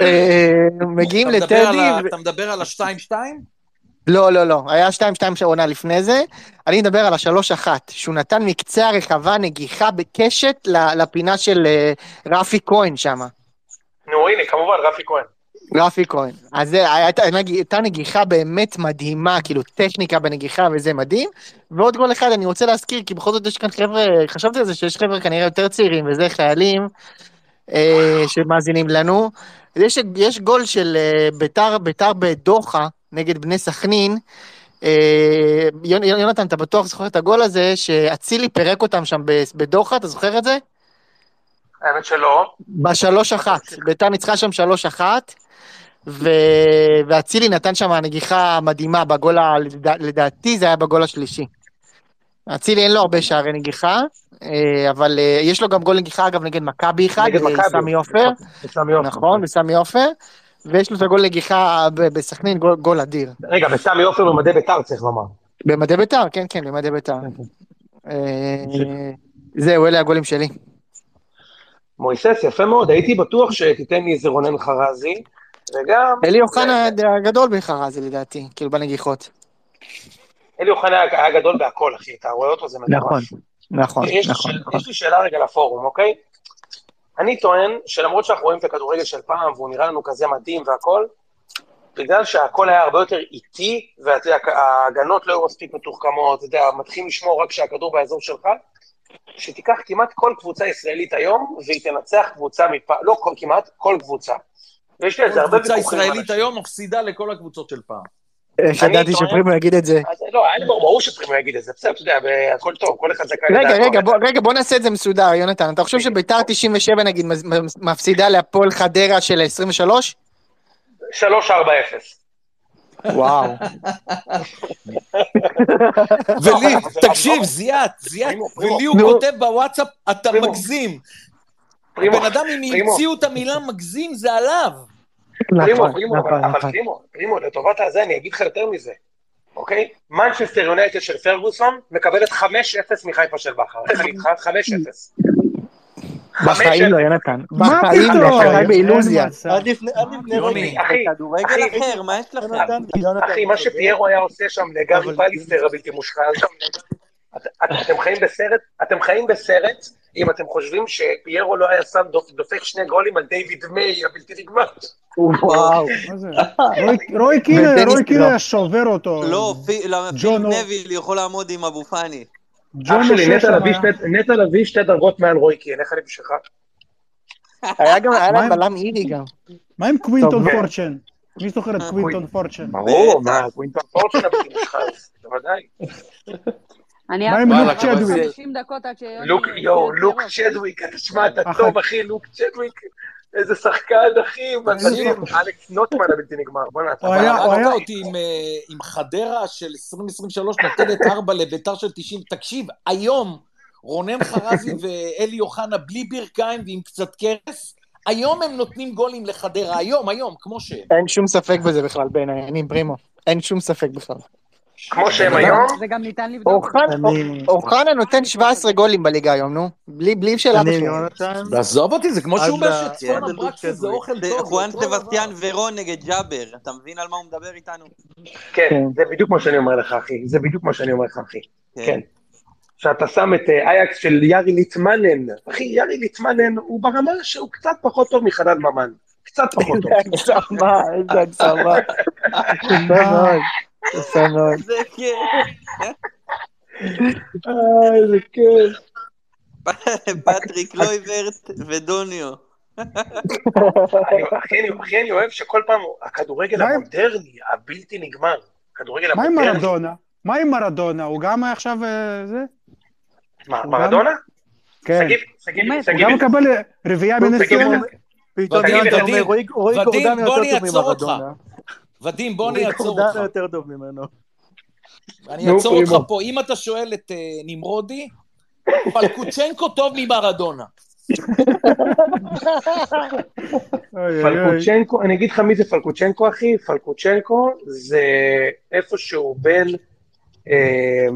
אה, מגיעים אתה מדבר על לטדי, ה- ו- אתה מדבר על ה-2-2? לא, לא, לא, היה 2-2 שעונה לפני זה. אני מדבר על השלוש אחת, שהוא נתן מקצה הרחבה, נגיחה בקשת ל- לפינה של אה, רפי כהן שם. נו, הנה, כמובן, רפי כהן. רפי כהן. אז זה, הייתה, הייתה נגיחה באמת מדהימה, כאילו טכניקה בנגיחה וזה מדהים. ועוד גול אחד, אני רוצה להזכיר, כי בכל זאת יש כאן חבר'ה, חשבתי על זה שיש חבר'ה כנראה יותר צעירים, וזה חיילים אה, שמאזינים לנו. אז יש, יש גול של אה, ביתר, ביתר בדוחה נגד בני סכנין. אה, יונ- יונתן, אתה בטוח זוכר את הגול הזה, שאצילי פירק אותם שם ב- בדוחה, אתה זוכר את זה? האמת שלא. בשלוש אחת, ביתר ניצחה שם שלוש אחת, ו... ואצילי נתן שם נגיחה מדהימה בגול, ה... לדע... לדעתי זה היה בגול השלישי. אצילי אין לו הרבה שערי נגיחה, אה, אבל אה, יש לו גם גול נגיחה אגב נגד מכבי אחד, נגד אה, מכבי. סמי עופר, בסמי עופר. נכון, וסמי עופר, ויש לו את הגול נגיחה ב- בסכנין, גול, גול אדיר. רגע, בסמי עופר במדי ביתר צריך לומר. במדי בית"ר, כן כן, במדי בית"ר. כן. אה, זהו, אלה הגולים שלי. מויסס, יפה מאוד, הייתי בטוח שתיתן לי איזה רונן חרזי, וגם אלי אוחנה הגדול בחרזי לדעתי, כאילו בנגיחות. אלי אוחנה היה גדול בהכל, אחי, אתה רואה אותו, זה מטורף. נכון, נכון, יש לי נכון, שאל- נכון. יש לי שאלה רגע לפורום, אוקיי? אני טוען שלמרות שאנחנו רואים את הכדורגל של פעם, והוא נראה לנו כזה מדהים והכל, בגלל שהכל היה הרבה יותר איטי, ואתה יודע, ההגנות לא היו מספיק מתוחכמות, אתה יודע, מתחילים לשמור רק כשהכדור באזור שלך, שתיקח כמעט כל קבוצה ישראלית היום, והיא תנצח קבוצה מפעם, לא כל, כמעט, כל קבוצה. ויש לי על כן, זה כל הרבה קבוצה ויכוחים. עם ישראלית אנשים. היום מפסידה לכל הקבוצות של פעם. איך אני ידעתי טוען- אה, שפרימו יגיד את זה? אז לא, היה לי ברור, ברור שפרימו יגיד את זה, בסדר, אתה יודע, הכל טוב, כל אחד זכאי רגע, לדעתו. רגע, בוא, רגע, בוא נעשה את זה מסודר, יונתן. אתה חושב שביתר 97 נגיד מז- מ- מפסידה להפועל חדרה של 23? 3-4-0. וואו. ולי, אבל זה- תקשיב, אבל- זיאת, זיאת, פרימו, פרימו. ולי הוא נו. כותב בוואטסאפ, אתה פרימו. מגזים. פרימו, הבן אדם, אם פרימו. המציאו את המילה מגזים, זה עליו. פרימו, נכון, פרימו, אבל נכון, אבל נכון. פרימו, פרימו, לטובת הזה, אני אגיד לך יותר מזה, אוקיי? מנצ'סטר יונייטד של פרגוסון מקבלת 5-0 מחיפה של בכר. איך אני איתך? 5-0. בחיים לא, 5-0. יונתן. מה בחיים לא, אתה פתאום? חי באילוזיה. אין מצב. עד לפני עד לפני יוני, רגע, אחי, בכדורגל אחי, הייתי אחר, מה יש לכם? יונתן, יונתן, אחי, אתה צודק. מה שפיירו היה עושה שם לגרי אבל- פליסטר הבלתי מושחז, את- את- אתם חיים בסרט, אתם חיים בסרט, אם אתם חושבים שפיירו לא היה שם דופ- דופק שני גולים על דיוויד מיי הבלתי נגמר. וואו. מה זה? רוי- רוי קין היה- ודניס רוי קין לא. היה שובר אותו. לא, פי- לא, פיל ג'ונו. נביל יכול לעמוד עם אבו פאני. אח ג'ון שלי, אושר נטע שם לביא היה. שתי- נטע לביא שתי דרגות מעל רוי קין, איך אני בשבילך? היה גם, היה מה להם עם- בלם אירי גם. מה עם טוב, קווינטון נו. פורצ'ן? מי זוכר את קווינטון פורצ'ן? אה, ברור, מה, קווינטון פורצ'ן הבטיח שלך, אז בוודאי. אני מה אף עם פעם לוק לא ראיתי צ'דוויק? 90 דקות עד שיוני... לא לוק, יואו, לוק ירוק. צ'דוויק, תשמע, אתה אחת. טוב, אחי, לוק צצ'דוויק, איזה שחקן, אחי, מדהים, אלכס נוטמן הבלתי נגמר, בוא'נה, אתה הוא בא- היה- הוא היה- הרגת אותי עם, אה, עם חדרה של 2023 נותנת 4 לביתר של 90. תקשיב, היום רונן חרזי ואלי אוחנה בלי ברכיים ועם קצת קרס, היום הם נותנים גולים לחדרה, היום, היום, כמו שהם. אין שום ספק בזה בכלל בעיניי, אני עם פרימו. אין שום ספק בכלל. כמו שהם היום, זה גם ניתן לבדוק. אוחנה- אני- אוחנה נותן 17 גולים בליגה היום, נו. בלי בלי שאלה אני עם בכלל. יונתן, ועזוב אותי, זה כמו עד שהוא אומר ל- שצפון כן. עד ללוק הברקסי זה צ'דוויק. אוכל זה טוב, חואן זה אותו סבסטיאן דבר. ורון נגד ג'אבר, אתה מבין על מה הוא מדבר איתנו? כן, כן. זה בדיוק מה שאני אומר לך, אחי, זה בדיוק מה שאני אומר לך, אחי, כן. כן. שאתה שם את אה, אייקס של יארי ליטמנן, אחי, יארי ליטמנן הוא ברמה שהוא קצת פחות טוב מחנן ממן, קצת פחות טוב. הגזמה, איזה הגזמה. יפה מאוד, יפה מאוד. זה כן. אה, איזה כיף. פטריק לויברט ודוניו. אני- אחי, אני- אחי, אני אוהב שכל פעם הוא- הכדורגל מה עם- המודרני, הבלתי נגמר, הכדורגל מה עם המודרני. מרדונה? מה עם מרדונה? הוא גם עכשיו אה, זה? מה, הוא מרדונה? כן. שגיב, שגיב, באמת, הוא שגיב, גם מקבל אה, רביעייה פתאום מנס תגיד, ציונה? פתאום ודים, יונתן ודים, אומר, רועי- רועי ודים, גורדנה בוא יותר אני טוב אעצור אותך. ממרדונה. ודים, בוא אני רועי אעצור אותך. גורדנה יותר טוב ממנו. אני נו, אעצור אותך פרימו. פה. אם אתה שואל את אה, נמרודי, פלקוצ'נקו טוב ממרדונה. אוי, אוי, אוי. פלקוצ'נקו, אני אגיד לך מי זה פלקוצ'נקו, אחי, פלקוצ'נקו זה איפשהו בין, אה,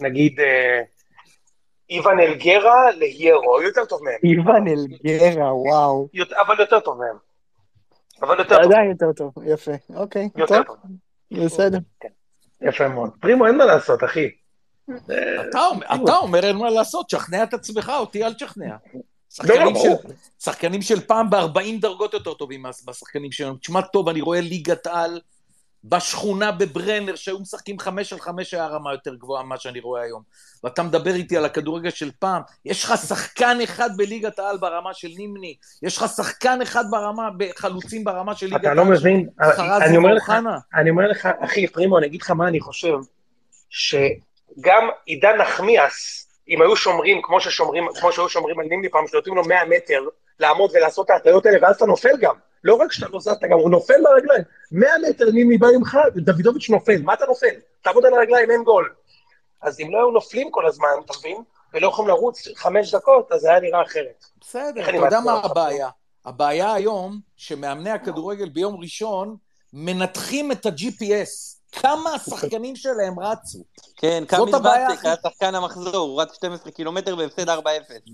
נגיד, אה, איוון אלגרה להיירו, הוא יותר טוב מהם, איוון אלגרה, וואו. יות- אבל יותר טוב מהם. אבל יותר טוב, עדיין יותר טוב, יפה. אוקיי, יותר טוב, טוב. בסדר. יפה מאוד. פרימו, אין מה לעשות, אחי. אתה אומר- אה, אתה אומר אין מה לעשות, תשכנע את עצמך, אותי אל תשכנע. לא, שחקנים ברור. של- שחקנים של פעם ב-40 דרגות יותר טובים מה- מהשחקנים שלנו. תשמע טוב, אני רואה ליגת על בשכונה בברנר, שהיו משחקים חמש על חמש, היה רמה יותר גבוהה ממה שאני רואה היום. ואתה מדבר איתי על הכדורגל של פעם, יש לך שחקן אחד בליגת העל ברמה של נימני, יש לך שחקן אחד ברמה, חלוצים ברמה של ליגת העל. אתה לא של מבין, אני חרזי אומר לך, ואוחנה. אני אומר לך, אחי, פרימו, אני אגיד לך מה אני חושב, שגם עידן נחמיאס, אם היו שומרים כמו ששומרים, כמו שהיו שומרים על נימני פעם, שנותנים לו 100 מטר לעמוד ולעשות את ההטיות האלה, ואז אתה נופל גם. לא רק שאתה לא זז, אתה גם, הוא נופל מהרגליים. 100 מטר נימני בא ממך, דוידוביץ' נופל, מה אתה נופל? תעמוד על הרגליים, אין גול. אז אם לא היו נופלים כל הזמן, אתה מבין? ולא יכולים לרוץ חמש דקות, אז זה היה נראה אחרת. בסדר, איך אתה אני יודע מעצבן מה אותך, הבעיה? הבעיה היום, שמאמני הכדורגל ביום ראשון מנתחים את ה-GPS. כמה השחקנים שלהם רצו. כן, זאת קאמיל הבעיה ואצק הכי- היה שחקן המחזור, הוא רץ 12 קילומטר והפסד 4-0.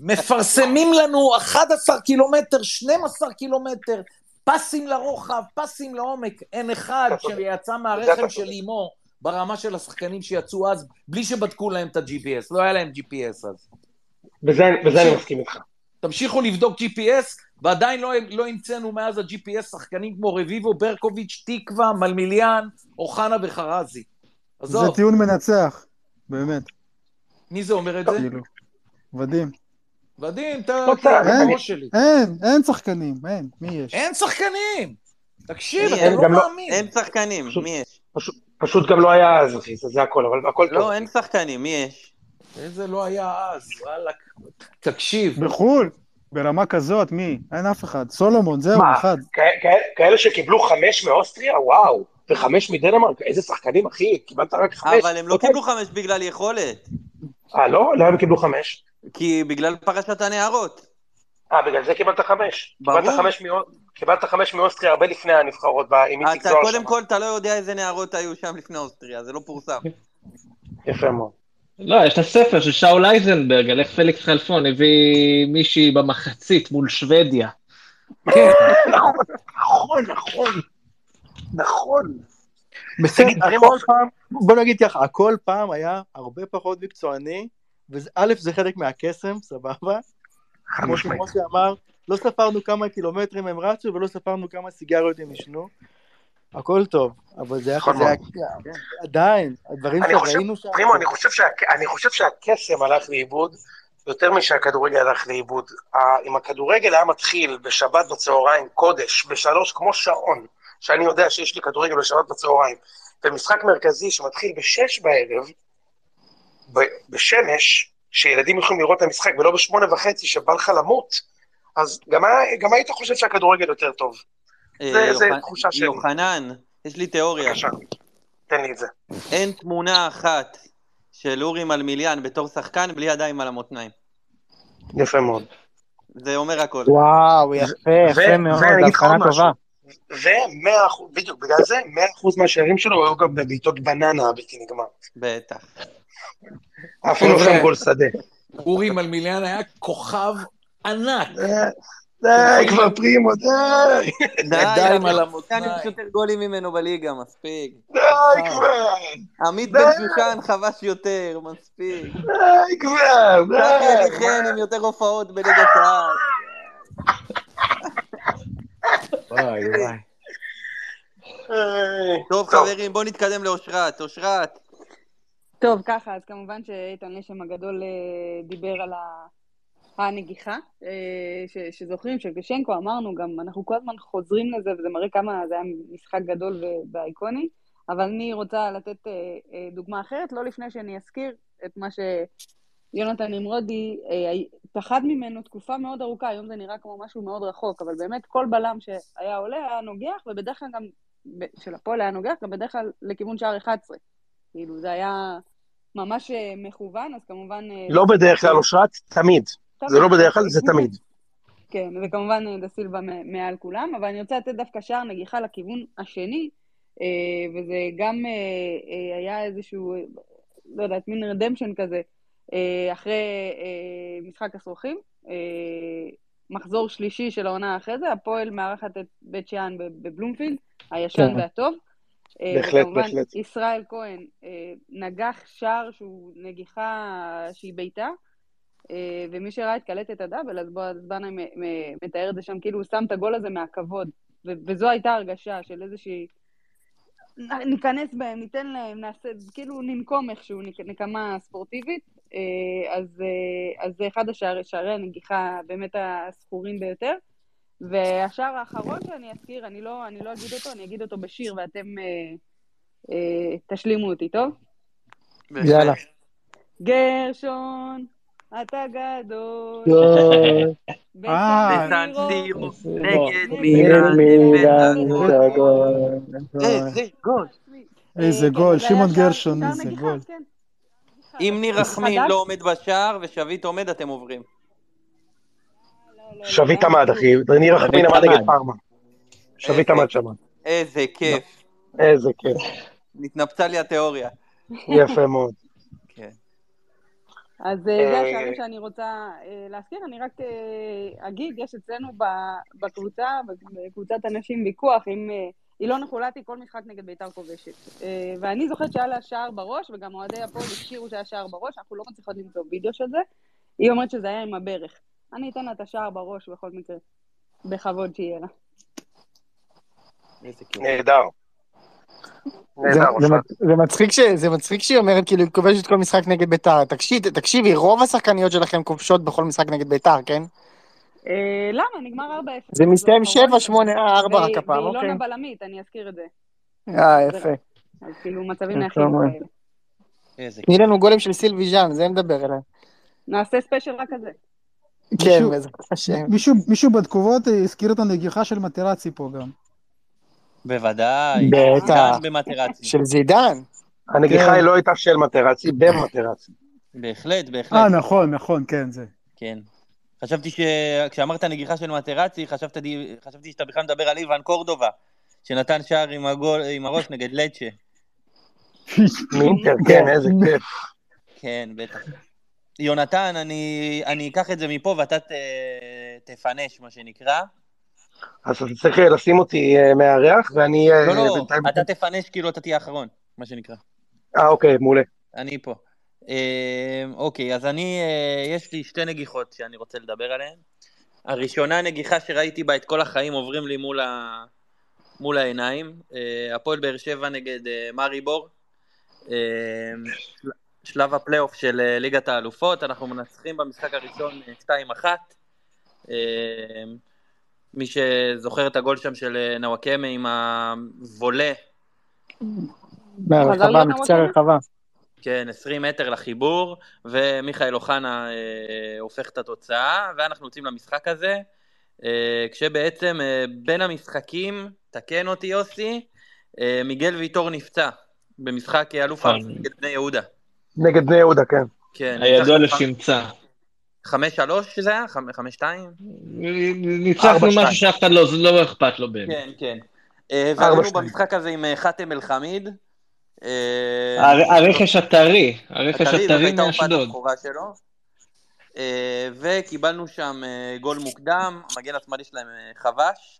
מפרסמים לנו 11 קילומטר, 12 קילומטר, פסים לרוחב, פסים לעומק. אין אחד אתה צודק. שיצא בזה מהרחם אתה של צודק. אימו ברמה של השחקנים שיצאו אז, בלי שבדקו להם את ה-GPS. לא היה להם GPS אז. בזה בזה אני שוב. מסכים איתך. תמשיכו לבדוק GPS, ועדיין לא, לא המצאנו מאז ה-GPS שחקנים כמו רביבו, ברקוביץ', תקווה, מלמיליאן, אוחנה וחרזי. זה עזוב, טיעון מנצח, באמת, מי זה אומר את זה? כאילו. מדהים. ודים, ת- לא תהיה צריך, כמו אני- שלי. אין, אין שחקנים, אין. מי יש? אין שחקנים! תקשיב, אין, אתה לא גם לא- מאמין. אין שחקנים, פשוט- מי יש? פשוט גם לא היה אז, אחי, זה- זה הכל, אבל הכל טוב. לא, אין שחקנים, מי יש? איזה לא היה אז, וואלכ. תקשיב, בחו"ל, ברמה כזאת, מי? אין אף אחד. סולומון, זהו, מה, אחד. כ- כ- כאלה שקיבלו חמש מאוסטריה? וואו, וחמש מדנמרק, איזה שחקנים, אחי, קיבלת רק חמש. אבל הם לא אוקיי. קיבלו חמש בגלל יכולת, אה, לא? למה הם קיבלו חמש? כי בגלל פרשת הנערות. אה, בגלל זה קיבלת חמש. ברור. קיבלת חמש מאו- קיבלת חמש מאוסטריה הרבה לפני הנבחרות, ב- עם איציק אתה זוהר קודם שם. כל, אתה לא יודע איזה נערות היו שם לפני אוסטריה, זה לא פורסם. יפה מאוד. לא, יש את הספר של שאול אייזנברג, על איך פליקס חלפון הביא מישהי במחצית מול שוודיה. כן, נכון, נכון, נכון, נכון. תגיד, בסדר, הרי כל מופ- פעם, בוא נגיד ככה, הכל פעם היה הרבה פחות מקצועני, וא' זה חלק מהקסם, סבבה? חד כמו משמעית. שמשה אמר, לא ספרנו כמה קילומטרים הם רצו ולא ספרנו כמה סיגריות הם עישנו, הכל טוב, אבל זה היה, נכון זה היה כן. עדיין, הדברים אני חושב, שראינו שם, פרימו, אני חושב, שה, אני חושב שהקסם הלך לאיבוד יותר משהכדורגל הלך לאיבוד. ה- אם הכדורגל היה מתחיל בשבת בצהריים, קודש, בשלוש, כמו שעון, שאני יודע שיש לי כדורגל בשבת בצהריים, ומשחק מרכזי שמתחיל בשש בערב, ב- בשמש, שילדים יכולים לראות את המשחק, ולא בשמונה וחצי שבא לך למות, אז גם, היה- גם היית חושב שהכדורגל יותר טוב. זה- זה אה, יוחנ- תחושה שלי. יוחנן, יש לי תיאוריה. בבקשה, תן לי את זה. אין תמונה אחת של אורי מלמיליאן בתור שחקן בלי ידיים על המותניים. יפה מאוד. זה אומר הכל. וואו, יפה, יפה ו- מאוד, ואני אגיד לך עוד הבחנה משהו. טובה. ומאה אחוז, בדיוק, בגלל זה, מאה אחוז מהשערים שלו היו גם בבעיטות בננה הבלתי נגמר. בטח. אה, אפילו חבר'ה. שם גול שדה. אורי מלמיליאן היה כוכב ענק. אה, די, כבר פרימו, די, ידיים על כאן המותניים. יש יותר גולים ממנו בליגה, מספיק. די כבר, עמית די. בן שושן חבש יותר, מספיק. די כבר, צחי די. אליכן עם יותר הופעות בליגת העל. וואי, וואי. אה, טוב, חברים, בואו נתקדם לאושרת. אושרת, טוב, ככה, אז כמובן שאיתן לשם הגדול אה, דיבר על ה... הנגיחה, אה, ש, שזוכרים, של גשנקו, אמרנו גם, אנחנו כל הזמן חוזרים לזה, וזה מראה כמה זה היה משחק גדול ו- ואיקוני, אבל אני רוצה לתת אה, אה, דוגמה אחרת, לא לפני שאני אזכיר את מה שיונתן נמרודי אה, הי- פחד ממנו תקופה מאוד ארוכה, היום זה נראה כמו משהו מאוד רחוק, אבל באמת כל בלם שהיה עולה היה נוגח, ובדרך כלל גם, ב- של הפועל היה נוגח, גם בדרך כלל לכיוון שער 11. כאילו, זה היה ממש אה, מכוון, אז כמובן... אה, לא בדרך כלל אושרת, תמיד. זה לא בדרך כלל, זה תמיד. כן, וכמובן אה, דה סילבה מ- מעל כולם, אבל אני רוצה לתת דווקא שער נגיחה לכיוון השני, אה, וזה גם אה, אה, היה איזשהו, אה, לא יודעת, מין רדמפשן כזה, אה, אחרי אה, משחק הסרוכים. אה, מחזור שלישי של העונה אחרי זה, הפועל מארחת את בית שאן בב- בבלומפילד, הישן כן. והטוב. אה, בהחלט, וכמובן, בהחלט. ישראל כהן אה, נגח שער שהוא נגיחה שהיא בעיטה, אה, ומי שראה את קלטת הדאבל, אז בועז בנה מ- מ- מתאר את זה שם, כאילו הוא שם את הגול הזה מהכבוד. ו- וזו הייתה הרגשה של איזושהי... נ- ניכנס בהם, ניתן להם, נעשה, כאילו ננקום איכשהו, נק- נקמה ספורטיבית. אה, אז, אה, אז זה אחד השערי שערי הנגיחה באמת הזכורים ביותר. והשער האחרון שאני אזכיר, אני לא, אני לא אגיד אותו, אני אגיד אותו בשיר, ואתם אה, אה, תשלימו אותי, טוב? יאללה. גרשון, אתה גדול, יואו, בסן אה, בסן סירו, סירו, סירו, נגד נגד מילאן, הבאת מילאן, גול. זה הגול. איזה גול. איזה אה, כן, גול, אז היה שמעון שער- גרשון, שער איזה נגיחה, גול. כן. אם ניר רחמים חדש? לא עומד בשער ושביט עומד, אתם עוברים. לא, לא, לא, שביט זה היה עמד, משהו- אחי. ניר רחמין עמד נגד פארמה. שביט איזה- עמד שם. איזה כיף. לא. איזה כיף. נתנפצה לי התיאוריה. אה. יפה מאוד. כן. אז אה, זה אה, השערים שאני רוצה אה, להזכיר. אני רק אה, אגיד, יש אצלנו ב- בקבוצה, בקבוצת הנשים ויכוח עם אה, אילונה חולתי, כל משחק נגד בית"ר כובשת. אה, ואני זוכרת שהיה לה שער בראש, וגם אוהדי הפועל הזכירו שהיה שער בראש, אנחנו לא מצליחות למצוא וידאו של זה. היא אומרת שזה היה עם הברך. אני אתן לה את השער בראש בכל מקרה, בכבוד שיהיה לה. איזה כיף. נהדר. זה- נהדר, זה אושרת. מצ- זה מצחיק ש- זה מצחיק שהיא אומרת כאילו היא כובשת כל משחק נגד ביתר. תקשיב- תקשיבי, רוב השחקניות שלכם כובשות בכל משחק נגד ביתר, כן? אה, למה? נגמר 4-0. זה מסתיים מחזור אחרון. 7-8-4 רק נכון, והיא- לא הפעם, ואילונה אוקיי. בלמית, אני אזכיר את זה. אה, יפה. אז כאילו מצבים יפה מהחינוך מאוד. האלה. איזה כיף. תני לנו גולים של סילבי ז'אן, זה נדבר עליהם. נעשה ספיישל רק כזה. כן, מישהו- בעזרת השם. מישהו- מישהו בתגובות הזכיר את הנגיחה של מטרצי פה גם. בוודאי. בטח. עידן במטרצי. של זידן. הנגיחה כן. היא לא הייתה של מטרצי, במטרצי. בהחלט, בהחלט. אה, נכון, נכון, כן, זה. כן. חשבתי שכשאמרת נגיחה של מטרצי, חשבתי, חשבתי שאתה בכלל מדבר על איוון קורדובה, שנתן שער עם, הגול, עם הראש נגד לצ'ה. מאינטר, כן, איזה כיף. כן, בטח. יונתן, אני, אני אקח את זה מפה ואתה ת, תפנש, מה שנקרא. אז אתה צריך אה, לשים אותי אה, מארח, ואני אה, לא, לא, בינתיים... אתה תפנש כאילו אתה תהיה האחרון, מה שנקרא. אה, אוקיי, מעולה. אני פה. אה, אוקיי, אז אני, אה, יש לי שתי נגיחות שאני רוצה לדבר עליהן. הראשונה, נגיחה שראיתי בה את כל החיים עוברים לי מול, ה... מול העיניים. אה, הפועל באר שבע נגד אה, מאריבור. אה, של- שלב הפלייאוף של אה, ליגת האלופות, אנחנו מנצחים במשחק הראשון אה, 2-1. אה, מי שזוכר את הגול שם של אה, נוואקמה עם הוולה, חזר מהרחבה, להיות לא, מקצה הוואקמה? הרחבה. כן, 20 מטר לחיבור, ומיכאל אוחנה אה, הופך את התוצאה, ואנחנו יוצאים למשחק הזה, אה, כשבעצם אה, בין המשחקים, תקן אותי יוסי, אה, מיגל ויטור נפצע במשחק אה, אלוף הארץ נכון. נגד בני יהודה. נגד בני יהודה, כן. כן, הידוע ניצחנו לשמצה. חמש שלוש זה היה? חמש- חמש שתיים? ניצחנו משהו שאף אחד לא, זה לא אכפת לו באמת. כן, כן. אה, ארבע, ועלינו שתיים. במשחק הזה עם אה, חאתם אל-חמיד. אה, הר- הרכש הטרי, הרכש הטרי, זאת הטרי הייתה הופעת מאשדוד. הבכורה שלו. אה, וקיבלנו שם אה, גול מוקדם, המגן השמאלי שלהם אה, חבש.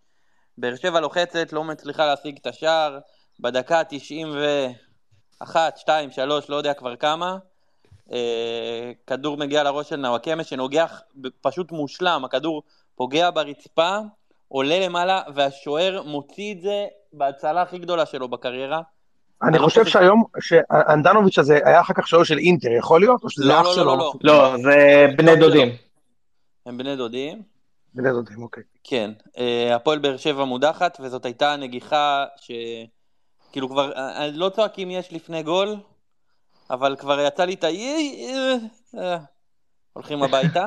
באר שבע לוחצת, לא מצליחה להשיג את השער. בדקה 91, 2, 3, לא יודע כבר כמה. אה, כדור מגיע לראש של נוואקמה שנוגח ב- פשוט מושלם, הכדור פוגע ברצפה, עולה למעלה, והשוער מוציא את זה בהצלה הכי גדולה שלו בקריירה. אני אני לא חושב חושב- שהיום, שאנדנוביץ' הזה היה אחר כך שוער של אינטר, יכול להיות? או שזה לא, אח לא, שלו? לא, לא. לא, זה בני לא, זה דודים. הם בני דודים. בני דודים, אוקיי. כן, אה, הפועל באר שבע מודחת, וזאת הייתה נגיחה ש... כאילו כבר, אה, אה, לא צועקים יש לפני גול, אבל כבר יצא לי את ה... "איי, אה, אה", הולכים הביתה.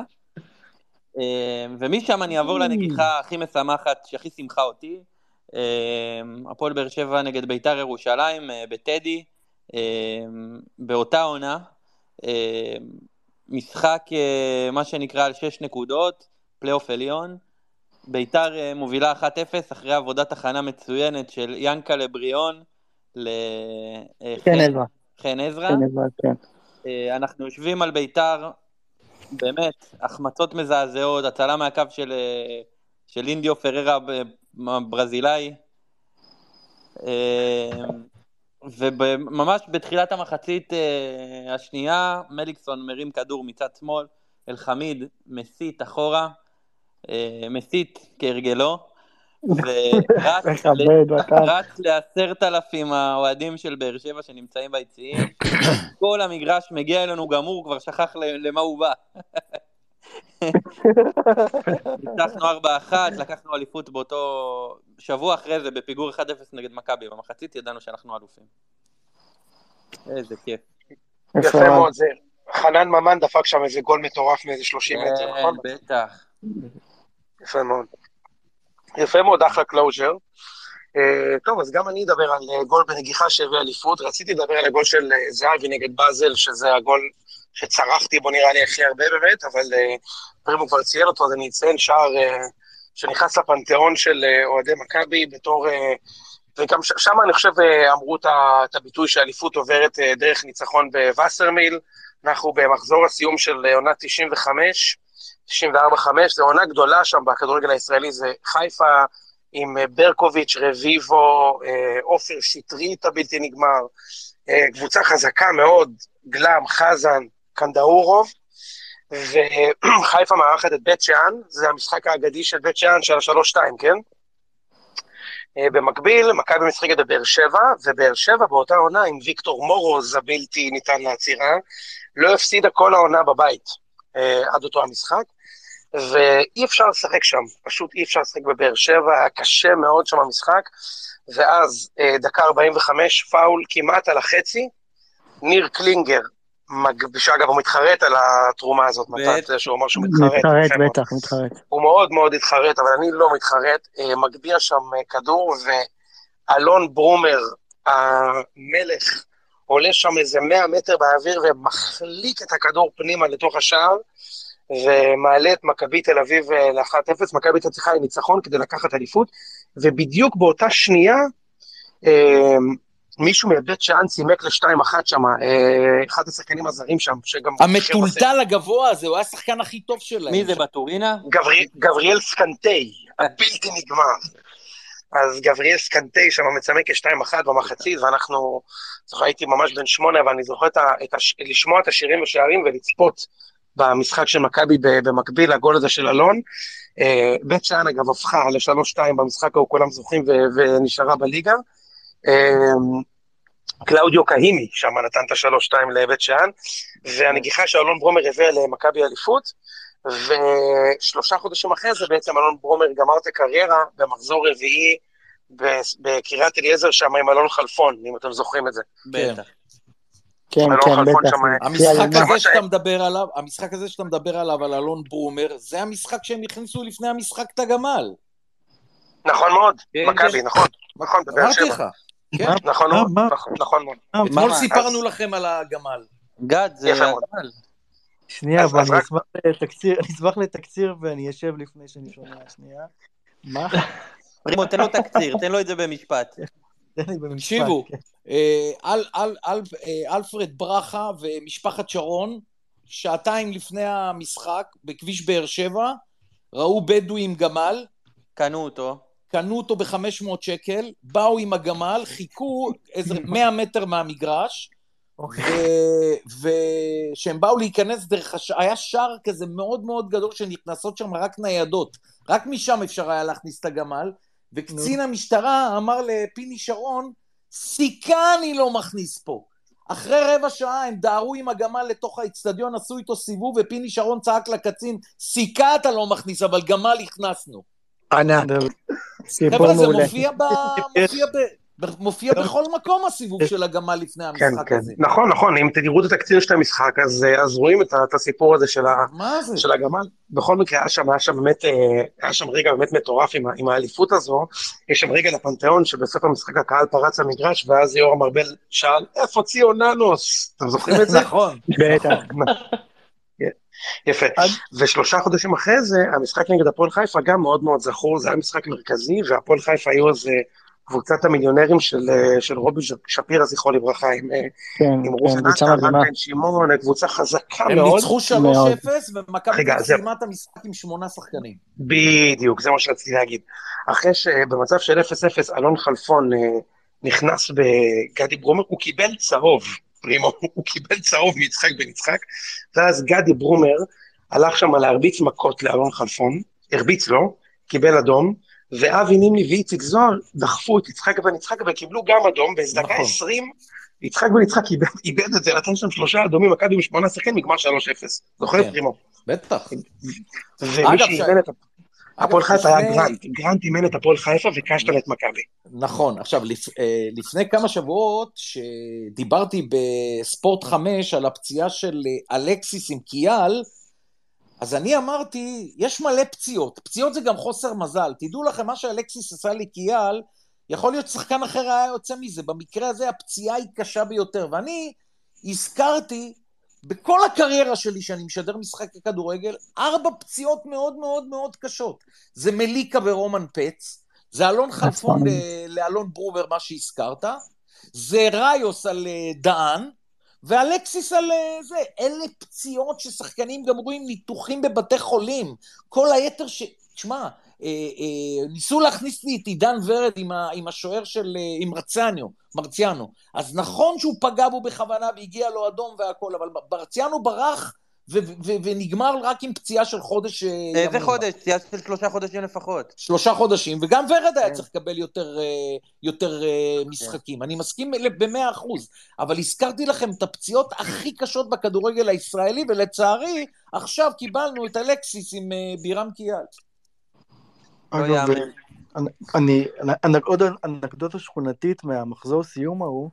אה, ומשם אני אעבור לנגיחה הכי משמחת, שהכי שמחה אותי. אה, הפועל באר שבע נגד ביתר ירושלים, אה, בטדי, אה, באותה עונה. אה, משחק, אה, מה שנקרא, על שש נקודות, פלייאוף עליון. ביתר אה, מובילה 1-0 אחרי עבודת הכנה מצוינת של ינקלה בריאון כן, לחן עזרא, עזרא. כן, עזרא, כן. אה, אנחנו יושבים על ביתר, באמת, החמצות מזעזעות, הצלה מהקו של, אה, של אינדיו פררה ב- הברזילאי. אה, וממש בתחילת המחצית אה, השנייה, מליקסון מרים כדור מצד שמאל, אלחמיד מסית אחורה, אה, מסית כהרגלו, ורץ מכבד, מתן. רץ לעשרת אלפים האוהדים של באר שבע שנמצאים ביציעים. כל המגרש מגיע אלינו גמור, כבר שכח ל- למה הוא בא. ניצחנו 4-1, לקחנו אליפות באותו... שבוע אחרי זה, בפיגור 1-0 נגד מכבי, במחצית ידענו שאנחנו אלופים. איזה כיף. יפה יפה מאוד. מאוד, זה... חנן ממן דפק שם איזה גול מטורף מאיזה 30 מטר, נכון? כן, בטח. יפה מאוד. יפה מאוד, אחלה קלוז'ר. אה, טוב, אז גם אני אדבר על אה, גול בנגיחה שהביא אליפות. רציתי לדבר על הגול של אה, זהבי נגד באזל, שזה הגול שצרחתי בו נראה לי הכי הרבה באמת, אבל אה, פרימו כבר ציין אותו, אז אני אציין שער אה, שנכנס לפנתיאון של אה, אוהדי מכבי בתור... אה, וגם ש- שם אני חושב אה, אמרו את ה- את הביטוי שהאליפות עוברת אה, דרך ניצחון בווסרמיל. אנחנו במחזור הסיום של אה, עונת 95, 94-5, זו עונה גדולה שם בכדורגל הישראלי, זה חיפה עם אה, ברקוביץ', רביבו, אה, עופר שטרית הבלתי נגמר, אה, קבוצה חזקה מאוד, גלם, חזן, קנדאורוב, וחיפה מארחת את בית שאן, זה המשחק האגדי של בית שאן של השלוש-שתיים, כן? אה, במקביל, מכבי משחקת בבאר שבע, ובאר שבע באותה עונה עם ויקטור מורוז הבלתי ניתן לעצירה, לא הפסידה כל העונה בבית אה, עד אותו המשחק, ואי אפשר לשחק שם, פשוט אי אפשר לשחק בבאר שבע, היה קשה מאוד שם המשחק, ואז אה, דקה 45, פאול כמעט על החצי, ניר קלינגר, מג... שאגב הוא מתחרט על התרומה הזאת, מתן, בטח. אתה יודע שהוא אמר שהוא מתחרט, מתחרט, יפה מאוד. בטח, מתחרט. הוא מאוד מאוד התחרט, אבל אני לא מתחרט, אה, מגביה שם אה, כדור, ואלון ברומר, המלך, עולה שם איזה 100 מטר באוויר ומחליק את הכדור פנימה לתוך השער, ומעלה את מכבי תל אביב אה, ל-1-0, מכבי תל צריכה לניצחון כדי לקחת אליפות, ובדיוק באותה שנייה, אה, מישהו מבית שאן צימק ל-2-1 שם, אה, אחד השחקנים הזרים שם, שגם... המטולטל הגבוה הזה, הוא היה השחקן הכי טוב שלהם. מי זה, בטורינה? גברי- גבריאל סקנטי, הבלתי נגמר. אז גבריאל סקנטי שם מצמק כ-2-1 במחצית, ואנחנו, זוכר, הייתי ממש בן שמונה, אבל אני זוכר את ה, את הש, לשמוע את השירים ושערים ולצפות במשחק של מכבי ב- במקביל לגול הזה של אלון. אה, בית שאן, אגב, הפכה ל-3-2 במשחק ההוא, כולם זוכרים, ו- ונשארה בליגה. אה, קלאודיו קהימי שם נתן את השלוש שתיים לבית שאן, והנגיחה שאלון ברומר הביא למכבי אליפות, ושלושה חודשים אחרי זה בעצם אלון ברומר גמר את הקריירה במחזור רביעי בס- בקריית אליעזר שם עם אלון חלפון, אם אתם זוכרים את זה. בטח. כן, אלון כן, לא חלפון בטח. שם- המשחק כן, הזה ממש שאתה מדבר עליו, המשחק הזה שאתה מדבר עליו, על אלון ברומר, זה המשחק שהם הכניסו לפני המשחק את הגמל. נכון מאוד, כן, מכבי, כן. נכון, נכון, בבאר אמרתי שבע. לך. כן. נכון מה- מאוד, מה- נכון, נכון מאוד. מה- אתמול מה- סיפרנו לכם על הגמל. גד, זה יפה מאוד. הגמל. שנייה, אז- אבל אז אני רק- אשמח לתקציר- אני אשמח לתקציר ואני אשב לפני שאני שומע, שנייה. מה? רימו, תן לו תקציר, תן לו את זה במשפט. תן לי במשפט. תקשיבו, כן. אה, אל- אל- אל- אה, אלפרד ברכה ומשפחת שרון, שעתיים לפני המשחק, בכביש באר שבע, ראו בדואי עם גמל, קנו אותו. קנו אותו ב-500 שקל, באו עם הגמל, חיכו איזה 100 מטר מהמגרש, אוקיי. וכשהם באו להיכנס דרך הש... היה שער כזה מאוד מאוד גדול שנכנסות שם רק ניידות. רק משם אפשר היה להכניס את הגמל, וקצין המשטרה אמר לפיני שרון, סיכה אני לא מכניס פה. אחרי רבע שעה הם דהרו עם הגמל לתוך האיצטדיון, עשו איתו סיבוב, ופיני שרון צעק לקצין, סיכה אתה לא מכניס, אבל גמל הכנסנו. ענק, סיפור כן, חבר'ה, זה מעולה. מופיע, ב... מופיע, ב... מופיע בכל מקום הסיבוב של הגמל לפני כן, המשחק כן, הזה. נכון, נכון, אם תראו את התקציר של המשחק, אז אה, אז רואים את ה- את הסיפור הזה של ה... מה זה? של הגמל. בכל מקרה, היה שם, היה שם באמת, אה, היה שם רגע באמת מטורף עם, ה- עם האליפות הזו. יש שם רגע לפנתיאון שבסוף המשחק הקהל פרץ למגרש, ואז יורם ארבל שאל, איפה ציוננוס? אתם זוכרים את זה? נכון. בטח. יפה. ושלושה חודשים אחרי זה, המשחק נגד הפועל חיפה גם מאוד מאוד זכור, זה היה משחק מרכזי, והפועל חיפה היו אז אה, קבוצת המיליונרים של, אה, של רובי ש- שפירא, זכרו לברכה, עם, אה, כן, עם כן, רופן קבוצה עטר, רן מדהימה. בן שמעון, אה, קבוצה חזקה הם מאוד. ניצחו 3-0, מאוד. ומכבי רגע, תל אביב זה- סיימה את המשחק עם שמונה שחקנים. בדיוק, זה מה שרציתי להגיד. אחרי שבמצב של 0-0 אלון חלפון אה, נכנס בגדי ברומר, הוא קיבל צהוב, פרימו, הוא קיבל צהוב מיצחק בן יצחק, ואז גדי ברומר הלך שם להרביץ מכות לאלון חלפון, הרביץ לו, קיבל אדום, ואבי נימני ואיציק זוהר דחפו את יצחק בן יצחק וקיבלו גם אדום, באיזה דקה נכון. 20, יצחק בן יצחק איבד- איבד את זה, נתן שם שלושה אדומים, מכבי עם שמונה שחקנים, נגמר 3-0. זוכר, כן. פרימו? בטח. ומי אגב, שאיבד את אגב, הפועל חיפה היה לפני- גרנט, גרנט אימן את הפועל חיפה וקשטן את מכבי. נכון. עכשיו, לפ... אה, לפני כמה שבועות, שדיברתי בספורט 5 על הפציעה של אה, אלכסיס עם קיאל, אז אני אמרתי, יש מלא פציעות. פציעות זה גם חוסר מזל. תדעו לכם, מה שאלקסיס עשה לקיאל, יכול להיות ששחקן אחר היה יוצא מזה. במקרה הזה הפציעה היא קשה ביותר. ואני הזכרתי, בכל הקריירה שלי שאני משדר משחקי כדורגל, ארבע פציעות מאוד מאוד מאוד קשות. זה מליקה ורומן פץ, זה אלון חלפון ל- לאלון ברובר, מה שהזכרת, זה ראיוס על אה, דהן, ואלקסיס על אה, זה, אלה פציעות ששחקנים גמרו עם ניתוחים בבתי חולים. כל היתר ש... תשמע, אה, אה, ניסו להכניס לי את עידן ורד עם, ה, עם השוער של... אה, עם רציאנו, מרציאנו. אז נכון שהוא פגע בו בכוונה והגיע לו אדום והכל, אבל מרציאנו ברח ו, ו, ו, ונגמר רק עם פציעה של חודש אה, ימים. איזה חודש? פציעה של שלושה חודשים לפחות. שלושה חודשים, וגם ורד היה כן. צריך לקבל יותר, אה, יותר אה, משחקים. אני מסכים ל- במאה אחוז, אבל הזכרתי לכם את הפציעות הכי קשות בכדורגל הישראלי, ולצערי, עכשיו קיבלנו את אלקסיס עם אה, בירם קיאל. לא אגב, אה, יאמן. אני, אני, עוד אנקדוטה שכונתית מהמחזור סיום ההוא,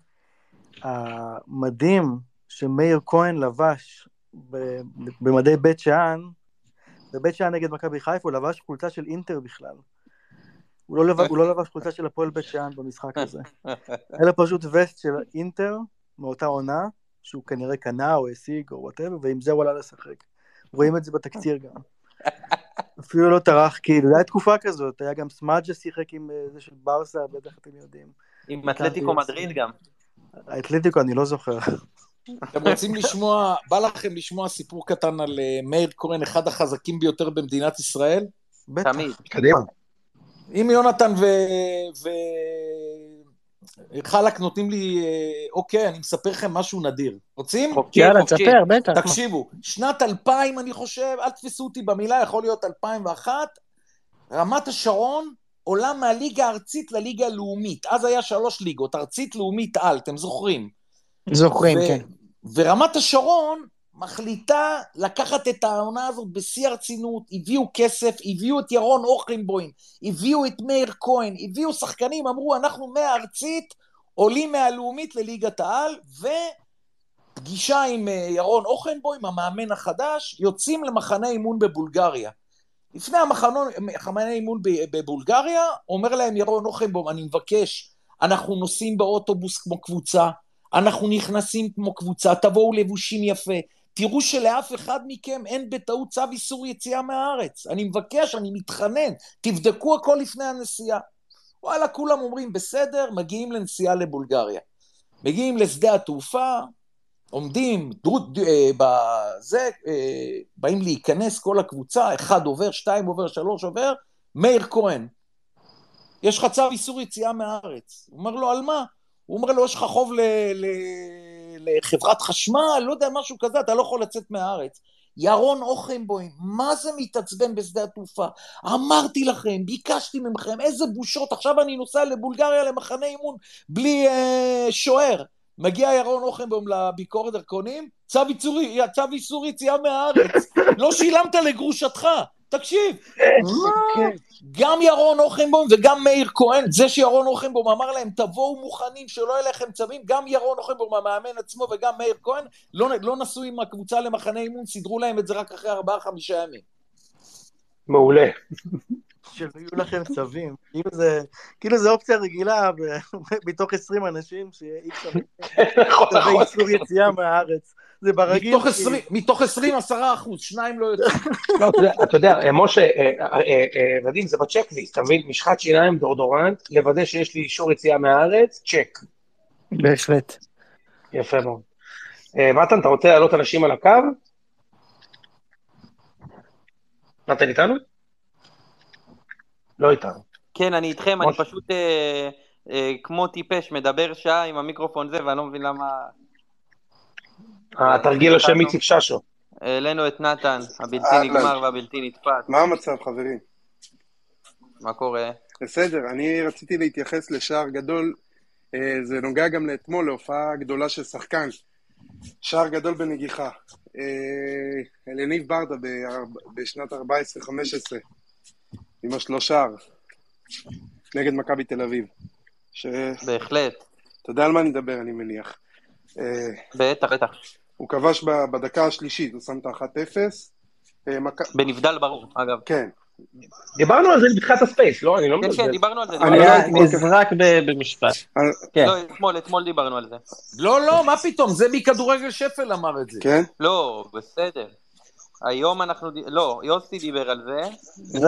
המדים שמאיר כהן לבש ב- במדי בית שאן, בבית שאן נגד מכבי חיפה, הוא לבש חולצה של אינטר בכלל. הוא לא, לב, הוא לא לבש חולצה של הפועל בית שאן במשחק הזה, אלא פשוט וסט של אינטר מאותה עונה, שהוא כנראה קנה או השיג או וואטאבר, ועם זה הוא עלה לשחק. רואים את זה בתקציר גם. אפילו לא טרח, כאילו, היה תקופה כזאת, היה גם סמאג'ה שיחק עם אה, זה של ברסה, בטח אתם יודעים. עם אתלטיקו מדריד גם. האתלטיקו אני לא זוכר. אתם רוצים לשמוע, בא לכם לשמוע סיפור קטן על אה, מאיר כהן, אחד החזקים ביותר במדינת ישראל? בטח. תמיד. קדימה. אם יונתן ו... ו... חלק נותנים לי, אה, אוקיי, אני מספר לכם משהו נדיר. רוצים? חופשי, יאללה, חופשי. תספר, בטח. תקשיבו, שנת 2000, אני חושב, אל תתפסו אותי במילה, יכול להיות 2001, רמת השרון עולה מהליגה הארצית לליגה הלאומית. אז היה שלוש ליגות, ארצית, לאומית, על, אתם זוכרים. זוכרים, ו- כן. ורמת השרון מחליטה לקחת את העונה הזאת בשיא הרצינות, הביאו כסף, הביאו את ירון אוכלימבוים, הביאו את מאיר כהן, הביאו שחקנים, אמרו אנחנו מהארצית עולים מהלאומית לליגת העל, ופגישה עם אה, ירון אוכלימבוים, המאמן החדש, יוצאים למחנה אימון בבולגריה. לפני המחנון- המחנה אימון ב- בבולגריה, אומר להם ירון אוכלימבוים, אני מבקש, אנחנו נוסעים באוטובוס כמו קבוצה, אנחנו נכנסים כמו קבוצה, תבואו לבושים יפה, תראו שלאף אחד מכם אין בטעות צו איסור יציאה מהארץ. אני מבקש, אני מתחנן, תבדקו הכל לפני הנסיעה. וואלה, כולם אומרים, בסדר, מגיעים לנסיעה לבולגריה. מגיעים לשדה התעופה, עומדים, דוד, אה, בזה, אה, באים להיכנס כל הקבוצה, אחד עובר, שתיים עובר, שלוש עובר, מאיר כהן, יש לך צו איסור יציאה מהארץ. הוא אומר לו, על מה? הוא אומר לו, יש לך חוב ל, ל, לחברת חשמל, לא יודע, משהו כזה, אתה לא יכול לצאת מהארץ. ירון אוכנבוים, מה זה מתעצבן בשדה התעופה? אמרתי לכם, ביקשתי ממכם, איזה בושות, עכשיו אני נוסע לבולגריה למחנה אימון בלי אה, שוער. מגיע ירון אוכנבוים לביקורת דרכונים, צו איסור, צו איסור יציאה מהארץ, לא שילמת לגרושתך, תקשיב. מה? גם ירון אוכנבוים וגם מאיר כהן, זה שירון אוכנבוים אמר להם, תבואו מוכנים, שלא יהיה לכם צווים, גם ירון אוכנבוים, המאמן עצמו, וגם מאיר כהן, לא, לא נסעו עם הקבוצה למחנה אימון, סידרו להם את זה רק אחרי ארבעה-חמישה ימים. מעולה. שלא יהיו לכם צווים. כאילו זה, כאילו זה אופציה רגילה ב- מתוך 20 אנשים שיהיה איקס נכון, צווי נכון. איסור יציאה מהארץ. זה ברגיל. מתוך כי- עשרים- מתוך עשרים, עשרה אחוז, שניים לא יוצאים. לא, אתה יודע- אתה יודע, אה, משה, אה, אה, אה, ודים, זה בצ'קליסט, אתה מבין? משחת שיניים, דורדורנט, לוודא שיש לי אישור יציאה מהארץ, צ'ק. בהחלט. יפה מאוד. אה, מתן, אתה רוצה להעלות אנשים על הקו? מתן איתנו? לא איתנו. כן, אני איתכם, אני משה. פשוט אה, אה, כמו טיפש, מדבר שעה עם המיקרופון זה, ואני לא מבין למה אה, התרגיל השם איציק ששו. העלינו את נתן, הבלתי אהלן. נגמר והבלתי נתפס. מה המצב, חברים? מה קורה? בסדר, אני רציתי להתייחס לשער גדול, אה, זה נוגע גם לאתמול, להופעה גדולה של שחקן. שער גדול בנגיחה. אה, אלניב ברדה בארבע- בשנת 14-15, עם השלושר, נגד מכבי תל אביב. ש- בהחלט, אתה יודע על מה אני מדבר, אני מניח. אה, בטח, בטח. הוא כבש ב- בדקה השלישית, הוא שם את ה-1-0. אה, מכ- בנבדל ברור, אגב. כן, דיברנו על זה בתחילת הספייס, לא? אני לא כן, כן, מזלזל. דיברנו על זה. אני אה, דיברנו על היה זה. לא- נזרק ב- במשפט. אה, כן. לא, אתמול, אתמול דיברנו על זה. לא, לא, מה פתאום, זה מכדורגל שפל אמר את זה. כן? לא, בסדר. היום אנחנו, ד- לא, יוסי דיבר על זה,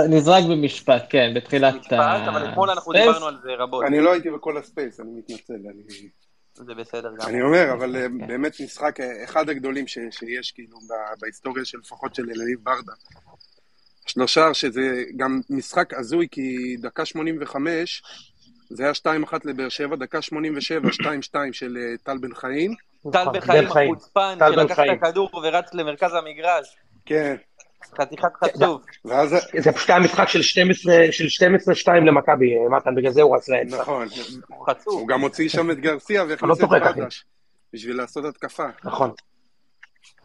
נזרק במשפט, כן, בתחילת משפט, אבל אתמול אנחנו הספייס. דיברנו על זה רבות. אני לא הייתי בכל הספייס, אני מתנצל. אני... זה בסדר גם. כן. אני אומר, אבל אה, באמת משחק אה, אחד הגדולים ש, שיש כאילו ב- בהיסטוריה של לפחות של אלניב ברדה. שלושה, שזה גם משחק הזוי, כי דקה 85, זה היה 2-1 לבאר שבע, דקה 87, 2-2 של אה, טל בן חיים. טל בן חיים בן חיים. החוצפן, טל בן שלקח חיים. את הכדור ורץ למרכז המגרש. כן, חתיכת חצוף. ואז... זה פשוט היה משחק של 12 של 12-2 למכבי, אה, מתן, בגלל זה הוא רץ להם. נכון. הוא חצוף. הוא גם הוציא שם את גרסיה אני לא והכניס את צוחק, אחי. ברדה בשביל לעשות התקפה. נכון.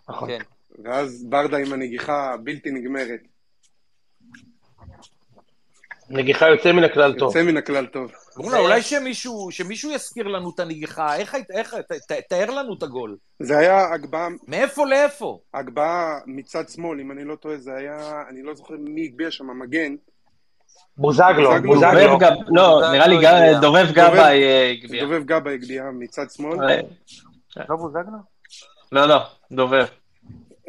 נכון. כן. ואז ברדה עם הנגיחה הבלתי נגמרת. נגיחה יוצא מן הכלל טוב. יוצא מן הכלל טוב. בוא'נה, אולי שמישהו, שמישהו יזכיר לנו את הנגיחה, איך, היית- איך, ת- ת- תאר לנו את הגול. זה היה הגבהה מאיפה לאיפה? הגבהה מצד שמאל, אם אני לא טועה, זה היה, אני לא זוכר מי הגביה שם, המגן. בוזגלו, בוזגלו. בוזגלו. דובב גב, לא, בוזגלו נראה לי הגיע. גם- דובב גבאי אה, הגביה. דובב גבה הגביה מצד שמאל, אה, לא בוזגלו? לא, לא, דובב.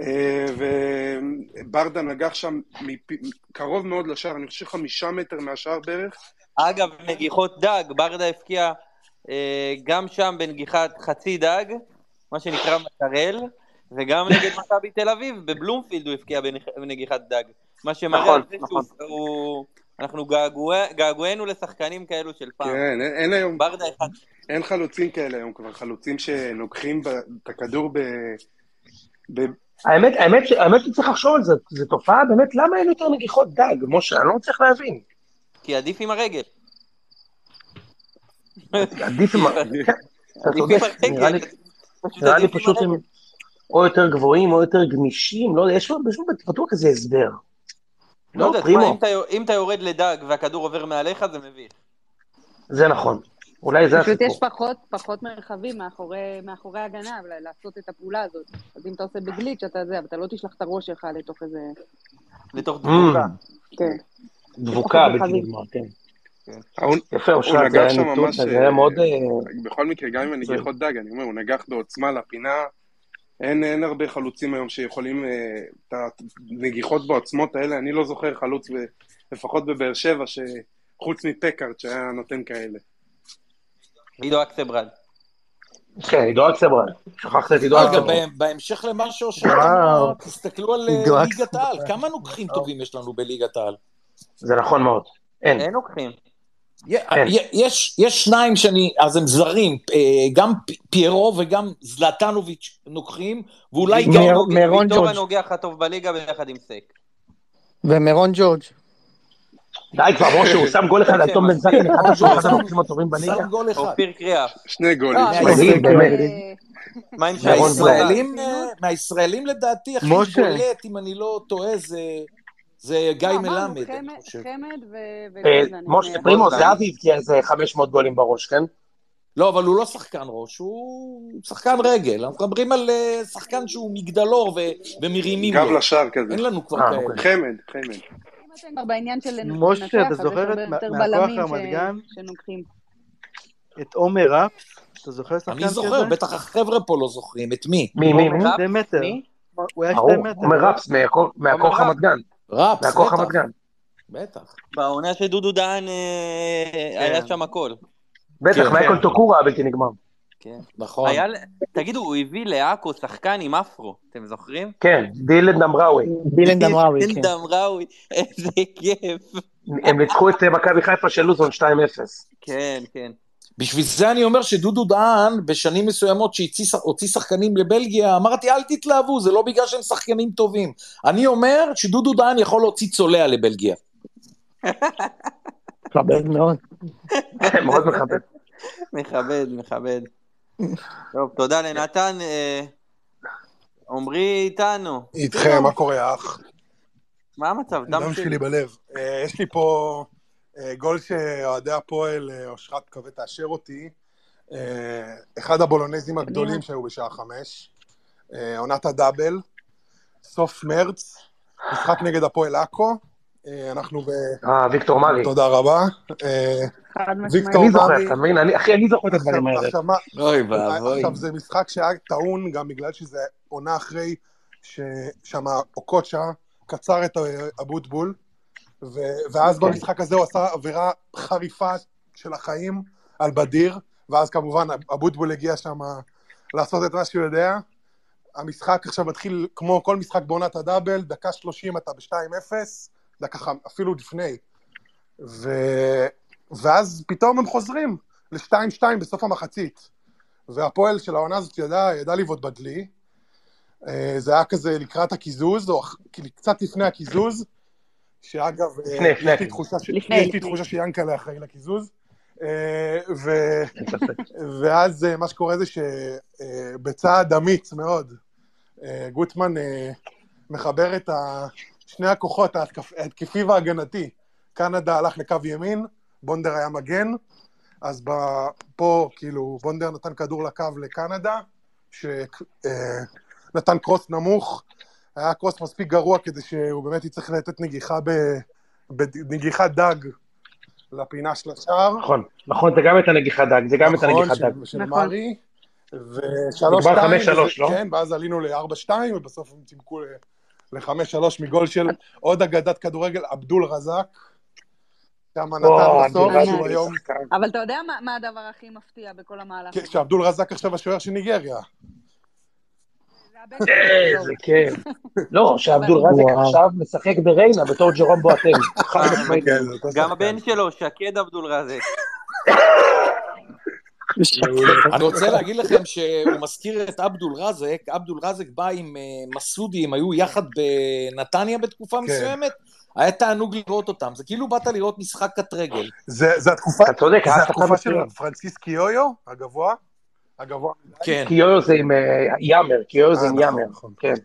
אה, וברדה נגח שם מפ- קרוב מאוד לשער, אני חושב חמישה מטר מהשער בערך. אגב, נגיחות דג, ברדה הבקיע אה, גם שם בנגיחת חצי דג, מה שנקרא מקרל, וגם נגד מכבי תל אביב, בבלומפילד הוא הבקיע בנח- בנגיחת דג. מה שמראה נכון, על זה שהוא... הוא- אנחנו געגוע- געגוענו לשחקנים כאלו של פעם. כן, אין- אין היום, ברדה אחד. אין חלוצים כאלה היום כבר, חלוצים שנוגחים ב- את הכדור ב... ב- האמת, האמת, ש- האמת שצריך לחשוב על זה, זו תופעה באמת, למה אין יותר נגיחות דג, משה, אני לא מצליח להבין. כי עדיף עם הרגל. עדיף עם... ה- כן, אתה עדיף עם כן. צודק, נראה לי, הרגל. פשוט נראה לי עדיף כן. עם פשוט עם... הרגל. או יותר גבוהים או יותר גמישים, לא יודע, יש לו יש לו בטוח איזה הסבר. לא יודע, תשמע, פרימו. אם אתה יור- אם אתה יורד לדג והכדור עובר מעליך, זה מביך. זה נכון. אולי זה פשוט הסיפור. יש פחות, פחות מרחבים מאחורי, מאחורי הגנה אבל לעשות את הפעולה הזאת. אז אם אתה עושה בגליץ', אתה זה, אבל אתה לא תשלח את הראש שלך לתוך איזה... לתוך דבוקה. כן. דבוקה פחות בלתי מרחבים. נגמר, כן. ההוא- יפה, הוא אושרת, זה נגח היה שם ניתוח, ממש... זה היה אה, מאוד... אה, בכל מקרה, גם עם הנגיחות דג, אני אומר, הוא נגח בעוצמה לפינה. אין, אין הרבה חלוצים היום שיכולים... אה, את הנגיחות בעוצמות האלה, אני לא זוכר חלוץ, ב, לפחות בבאר שבע, שחוץ מפקארט שהיה נותן כאלה. עידו אקסברד. כן, עידו אקסברן. שכחת את עידו אגב, אקסברן. בה- בהמשך למה שאושרת אמרה, וואו. תסתכלו על אה, דואג. ליגת העל, כמה נוקחים טובים יש לנו בליגת העל? זה נכון מאוד. אין. אין לוקחים. אין. י- יש, יש שניים שאני, אז הם זרים, אה, גם פ- פיירו וגם זלטנוביץ' נוקחים, ואולי גם... מר- מרון ויטור ג'ורג'. הנוגח הטוב בליגה ביחד עם סק. ומרון ג'ורג'. די כבר, משה, הוא שם גול אחד על תום בן זקן, אחד משה, אחד שם- המקרים הטובים בליגה. שם גול אחד. אופיר קריאף. שני גולים. לא, אבל- מדהים, באמת. אה, מה עם שרון גולן? מהישראלים, אה, מהישראלים לדעתי, הכי משה. בולט, אם אני לא טועה, זה, זה גיא לא, אמרנו, מלמד, חמד- אני חושב. חמד ו... אה, וגולדן, הם, משה אה, פרימו, גולדן. זהבי הבקיע איזה 500 גולים בראש, כן? לא, אבל הוא לא שחקן ראש, הוא שחקן רגל. אנחנו מדברים על אה, שחקן שהוא מגדלור ו- ומרימים גב לו. לשער כזה. אין לנו כבר אה, כאלה. אוקיי. חמד, חמד. אם אתם כבר בעניין של לנ- משה, לנצח, אתה אז יש זוכר הרבה את- יותר מה- בלמים מהכוח רמת ש... שנוקחים. את עומר אפס, אתה זוכר שחקן כזה? אני זוכר, בטח החבר'ה פה לא זוכרים. את מי? מי, מי, מי? עומר רפס? שתי מטר. מי? הוא היה שתי ברור, מטר. עומר רפס מהכוח- מהכוח עומר רפס. רמת גן. רפס, מהכוח רמת בטח. גן. בטח. בעונה שדודו דהן אה, היה שם הכל. בטח, כן. מייקל טוקורה הבלתי נגמר. כן. נכון. היה ל- תגידו, הוא הביא לעכו שחקן עם אפרו, אתם זוכרים? כן, דילן דמראווי. דילן דמראווי, כן. אילדם ראוי, איזה כיף. הם ניצחו את אה, מכבי חיפה של לוזון 2-0. כן, כן. בשביל זה אני אומר שדודו דהן, בשנים מסוימות שהוציא שחקנים לבלגיה, אמרתי, אל תתלהבו, זה לא בגלל שהם שחקנים טובים. אני אומר שדודו דהן יכול להוציא צולע לבלגיה. מכבד מאוד. כן, מאוד מכבד. מכבד, מכבד. טוב, תודה לנתן. אה, עמרי איתנו. איתכם, מה קורה, אח? מה המצב? דם שלי בלב. אה, יש לי פה אה, גול שאוהדי הפועל, אה, אושרת מקווה תאשר אותי. אה, אחד הבולונזים הגדולים שהיו בשעה חמש. אה, עונת הדאבל. סוף מרץ. משחק נגד הפועל עכו. אה, אנחנו ב... אה, ויקטור מרי. תודה רבה. אה, חד משמעית. ויקטור אני זוכר, מרי. אתה מבין? אני- אחי, אני זוכר את עכשיו, הדברים האלה. עכשיו מה, אה, אוי עכשיו זה משחק שהיה טעון גם בגלל שזה עונה אחרי ששם אוקוצ'ה קצר את אה, אבוטבול, ו- ואז אוקיי. כן. במשחק הזה הוא עשה עבירה חריפה של החיים על בדיר, ואז כמובן אבוטבול הגיע שם לעשות את מה שהוא יודע. המשחק עכשיו מתחיל כמו כל משחק בעונת הדאבל, דקה 30 אתה ב-2-0, דקה חמ... אפילו לפני. ו... ואז פתאום הם חוזרים ל-2-2 בסוף המחצית. והפועל של העונה הזאת ידע, ידע לבעוט בדלי. אה, זה היה כזה לקראת הקיזוז, או אח- כאילו קצת לפני הקיזוז, שאגב, אה, לפני, לפני יש לי הקיזוז. תחושה, ש... לפני, יש לי לפני. תחושה שיאנקלה אחראי לקיזוז. אה, ו... ואז אה, מה שקורה זה שבצעד אמיץ מאוד, אה, גוטמן אה, מחבר את ה- שני הכוחות, ההתקפ- ההתקפי וההגנתי. קנדה הלך לקו ימין, בונדר היה מגן, אז ב... פה כאילו בונדר נתן כדור לקו לקנדה, שנתן קרוס נמוך, היה קרוס מספיק גרוע כדי שהוא באמת יצטרך לתת נגיחה ב... בנגיחת דג לפינה של השער. נכון, נכון, זה גם את הנגיחת דג, זה גם את נכון, הנגיחת דג. של, של נכון. מרי, ושלוש נגמר שתיים, 5-3, וזה- לא? כן, ואז עלינו לארבע שתיים, ובסוף הם צימקו ל- לחמש שלוש מגול של עוד אגדת כדורגל, עבדול רזק, שם נתן או, בסוף, אבדולאי, שהוא איזה היום, שחקן. אבל אתה יודע מה, מה הדבר הכי מפתיע בכל המהלך כן, הזה? שעבדול רזק עכשיו השוער של ניגריה. זה הבקאפ שלו. איזה כיף. לא, שעבדול אבל- רזק וואו. עכשיו משחק בריינה בתור ג'רום בואטנג, חד אה, משמעית. כן, זה אותו גם שחקן. הבן שלו, שקד אבדול רזק. אני רוצה להגיד לכם שהוא מזכיר את עבדול רזק, עבדול רזק בא עם אה, מסעודי, הם היו יחד בנתניה כן. בתקופה מסוימת, היה תענוג לראות אותם, זה כאילו באת לראות משחק קט רגל. זה זה התקופה אתה צודק, זה ההסתה התקופה של מצוין. פרנסיס קיויו, הגבוה, הגבוה. קיו זה עם אה, יאמר, קיו זה כן. אה, עם נכון, יאמר, כן.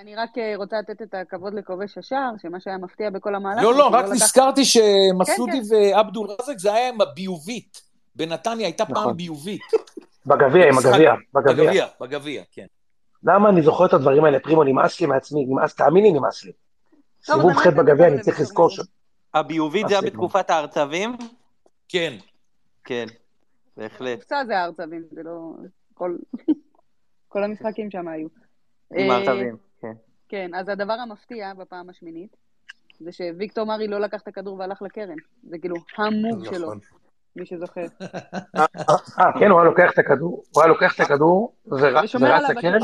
אני רק אה, רוצה לתת את הכבוד לכובש השער, שמה שהיה מפתיע בכל המהלך... לא, זה לא, שהוא רק לקח- נזכרתי כן, שמסעודי כאילו, כן. ועבדול רזק זה היה עם הביובית. בנתניה הייתה פעם נכון. ביובית. בגביע, עם משחק- הגביע, בגביע. בגביע, בגביע, כן. למה אני זוכר את הדברים האלה? פרימו, נמאס לי מעצמי, נמאס, תאמין לי, נמאס לי. טוב, אז סיבוב אני רק ח' אגיד בגביע, לנו אני צריך למישור לזכור נגד. ש... הביובית זה היה אסי, בתקופת ההרצבים? כן. כן, בהחלט. הקופסה זה הארצבים, זה לא... כל- כל המשחקים שם היו. עם אה, ההרצבים, כן. כן, אז הדבר המפתיע בפעם השמינית, זה שוויקטור מרי לא לקח את הכדור והלך לקרן. זה כאילו המוב שלו, מי שזוכר. אה, כן, הוא היה לוקח את הכדור, הוא היה לוקח את הכדור, ורץ ושומר עליו לקרן. בקרן.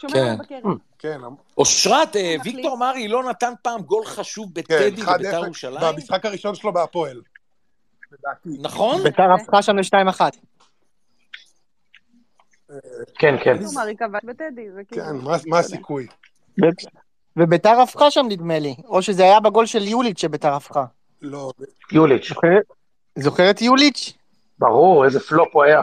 שומר עליו כן. בקרן. כן, אושרת, אה, מחליט? ויקטור מרי לא נתן פעם גול חשוב כן, בטדי 1-0, לביתר ירושלים? במשחק הראשון שלו בהפועל. לדעתי. נכון? ביתר הפכה שם ל-2-1. כן, כן. ויקטור מרי כבש בטדי, זה כאילו... כן, מה- מה הסיכוי? ו- וביתר הפכה שם נדמה לי, או שזה היה בגול של יוליץ' שביתר הפכה. לא, יוליץ', זוכר את יוליץ'? ברור, איזה פלופ הוא היה.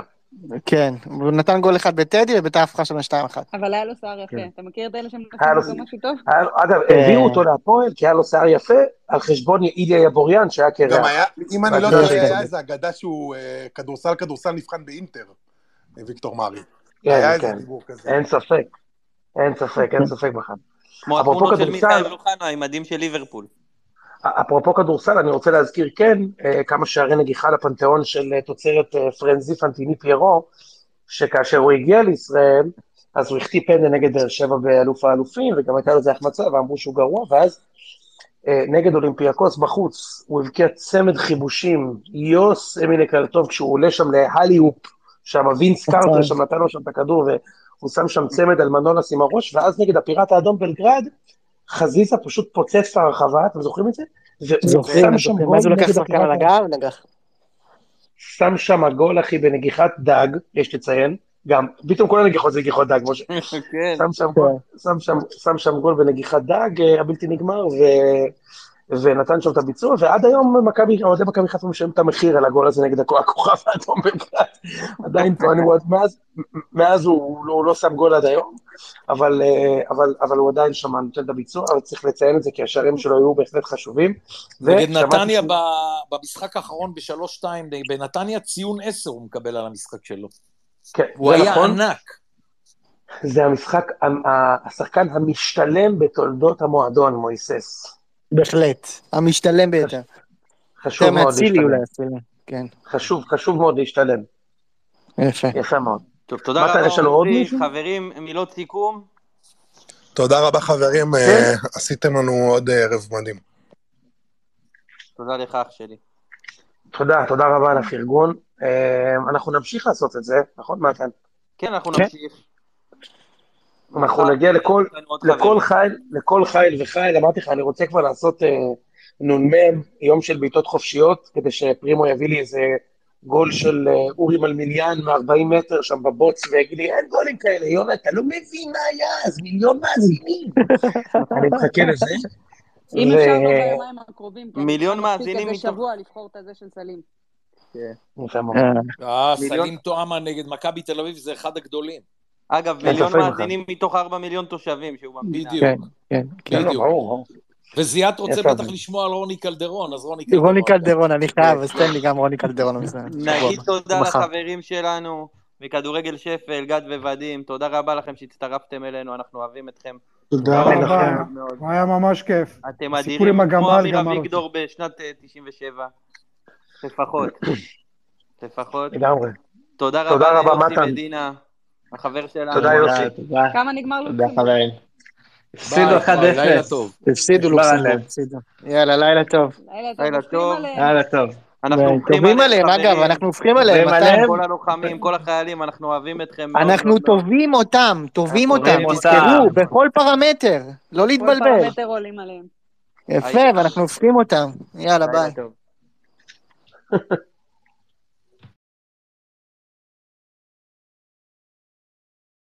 כן, הוא נתן גול אחד בטדי וביתר הפכה שם ל-2-1. אבל היה לו שיער כן. יפה. אתה מכיר את אלה היה שמבקשים לו- אותו משהו טוב? היה לו- אגב, אה, הביאו אותו להפועל, כי היה לו שיער יפה, על חשבון איליה יבוריאן, שהיה גם קרח. כן, היה, אם אני לא והגדול טועה, של היה כדור. איזה אגדה שהוא אה, כדורסל, כדורסל נבחן באינטר, אה, ויקטור מרי. היה כן, איזה כן. דיבור כזה. אין ספק. אין ספק, אין ספק בכלל. כמו אפרופו התמונות של כדורסל- מיכאל לא? אוחנה עם מדים של ליברפול. אפרופו כדורסל, אני רוצה להזכיר כן, אה, כמה שערי נגיחה לפנתיאון של אה, תוצרת אה, פרנזי פנטיני פיירו, שכאשר הוא הגיע לישראל, אז הוא החטיא פנדל נגד באר שבע באלוף האלופים, וגם הייתה לו איזה החמצה, ואמרו שהוא גרוע, ואז אה, נגד אולימפיאקוס בחוץ, הוא הבקיע צמד חיבושים, יוס אמילי קרטוב, כשהוא עולה שם להליופ, שם וינס קרטר שם נתן לו שם את הכדור, והוא שם שם צמד על מנונס עם הראש, ואז נגד הפיראט האדום בלגרד, חזיזה פשוט פוצץ את הרחבה, אתם זוכרים את זה? והוא זוכרים, שם שם זוכרים. ואז גול הוא לקח נגד שחקן הפיראט על הגב, נגח. שם שם גול, אחי, בנגיחת דג, יש לציין, גם, פתאום כל הנגיחות זה נגיחות דג, משה. כן. שם שם גול, שם שם, שם שם גול בנגיחת דג, אה, הבלתי נגמר, ו... ונתן שם את הביצוע, ועד היום מכבי, אוהדי מכבי חיפה משלמים את המחיר על הגול הזה נגד הכ- הכוכב האדום בבלאט. עדיין טוענים, הוא עוד- מאז, מאז הוא, הוא, לא, הוא לא שם גול עד היום, אבל, אה, אבל, אבל הוא עדיין שם נותן את הביצוע, אבל צריך לציין את זה, כי השערים שלו היו בהחלט חשובים. נגד ושמעתי נתניה שהוא- ב- במשחק האחרון ב-3-2, בנתניה ציון 10 הוא מקבל על המשחק שלו. כן, הוא זה היה נכון. ענק. זה המשחק, ה- ה- השחקן המשתלם בתולדות המועדון, מויסס. בהחלט. המשתלם ביותר. חשוב יותר מאוד מאצילי להשתלם. כן, אולי אפילו. כן, חשוב, חשוב מאוד להשתלם. יפה. יפה מאוד. טוב, תודה מתן, רבה יש לנו עוד עוזי. מישהו? חברים, מילות סיכום. תודה רבה חברים, אה, עשיתם לנו עוד אה, ערב מדהים. תודה לך, אח שלי. תודה, תודה רבה על הפרגון. אה, אנחנו נמשיך לעשות את זה, נכון, מתן? כן, אנחנו כן. נמשיך. אנחנו מחר נגיע לכל, נכון. יש לנו עוד חברים. לכל חיל, לכל חיל וחיל, אמרתי לך, אני רוצה כבר לעשות אה, נ"מ, יום של בעיטות חופשיות, כדי שפרימו יביא לי איזה גול של אה, אורי מלמיליאן מ-40 מטר שם בבוץ, ויגיד לי, אין גולים כאלה, יונה, אתה לא מבין מה היה, אז מיליון מאזינים. אני מחכה לזה. אם ו- אפשר כבר ביומיים הקרובים, כי אני צריכה מיליון מספיק מאזינים איזה מתוך- שבוע לבחור את הזה של סלים. כן, יפה מאוד. אה, אה, מיליון- סלים טועמה נגד מכבי תל אביב זה אחד הגדולים. אגב, אין מיליון ספק בכלל. מאזינים מתוך ארבע מיליון תושבים שהוא במדינה. כן, בדיוק, כן, כן. כן, כן, לא, בדיוק. ברור, ברור. וזיאת רוצה יפה. בטח לשמוע על רוני קלדרון, אז רוני קלדרון. רוני קלדרון, אני חייב, אז תן לי גם רוני קלדרון. בסדר, שבוע נגיד הבא. תודה מחר. לחברים שלנו מכדורגל שפל, גד וודים, תודה רבה לכם שהצטרפתם אלינו, אנחנו אוהבים אתכם. תודה תודה אמן לכם. רבה, מאוד מאוד. היה ממש כיף. אתם הסיפור אדירים, עם כמו הגמל אמיר גמר אותי. אביגדור בשנת אה, 97, לפחות, לפחות. לגמרי. תודה תודה רבה רבה, ליוסי מתן. מדינה, החבר שלנו. תודה, יוסי. תודה, תודה. כמה נגמר תודה לוקסמבורג? חברים. הפסידו ביי, 1-0. ביי, לילה טוב. הפסידו נשבר לוקסמבורג, הלב. הפסידו. יאללה, לילה טוב. לילה טוב, לילה נופלים עליהם. יאללה טוב. טוב. אנחנו הופכים טובים עליהם, עליהם, אגב, חברים. אנחנו הופכים עליהם, עוברים מתן. עליהם, כל הלוחמים, כל החיילים, אנחנו אוהבים אתכם מאוד מאוד אנחנו מאוד. טובים אותם, טובים אנחנו אותם, אוהבים תזכרו, אותם. בכל פרמטר, לא כל להתבלבל. פרמטר עולים עליהם. יפה, ואנחנו הופכים אותם. יאללה, לילה ביי. טוב.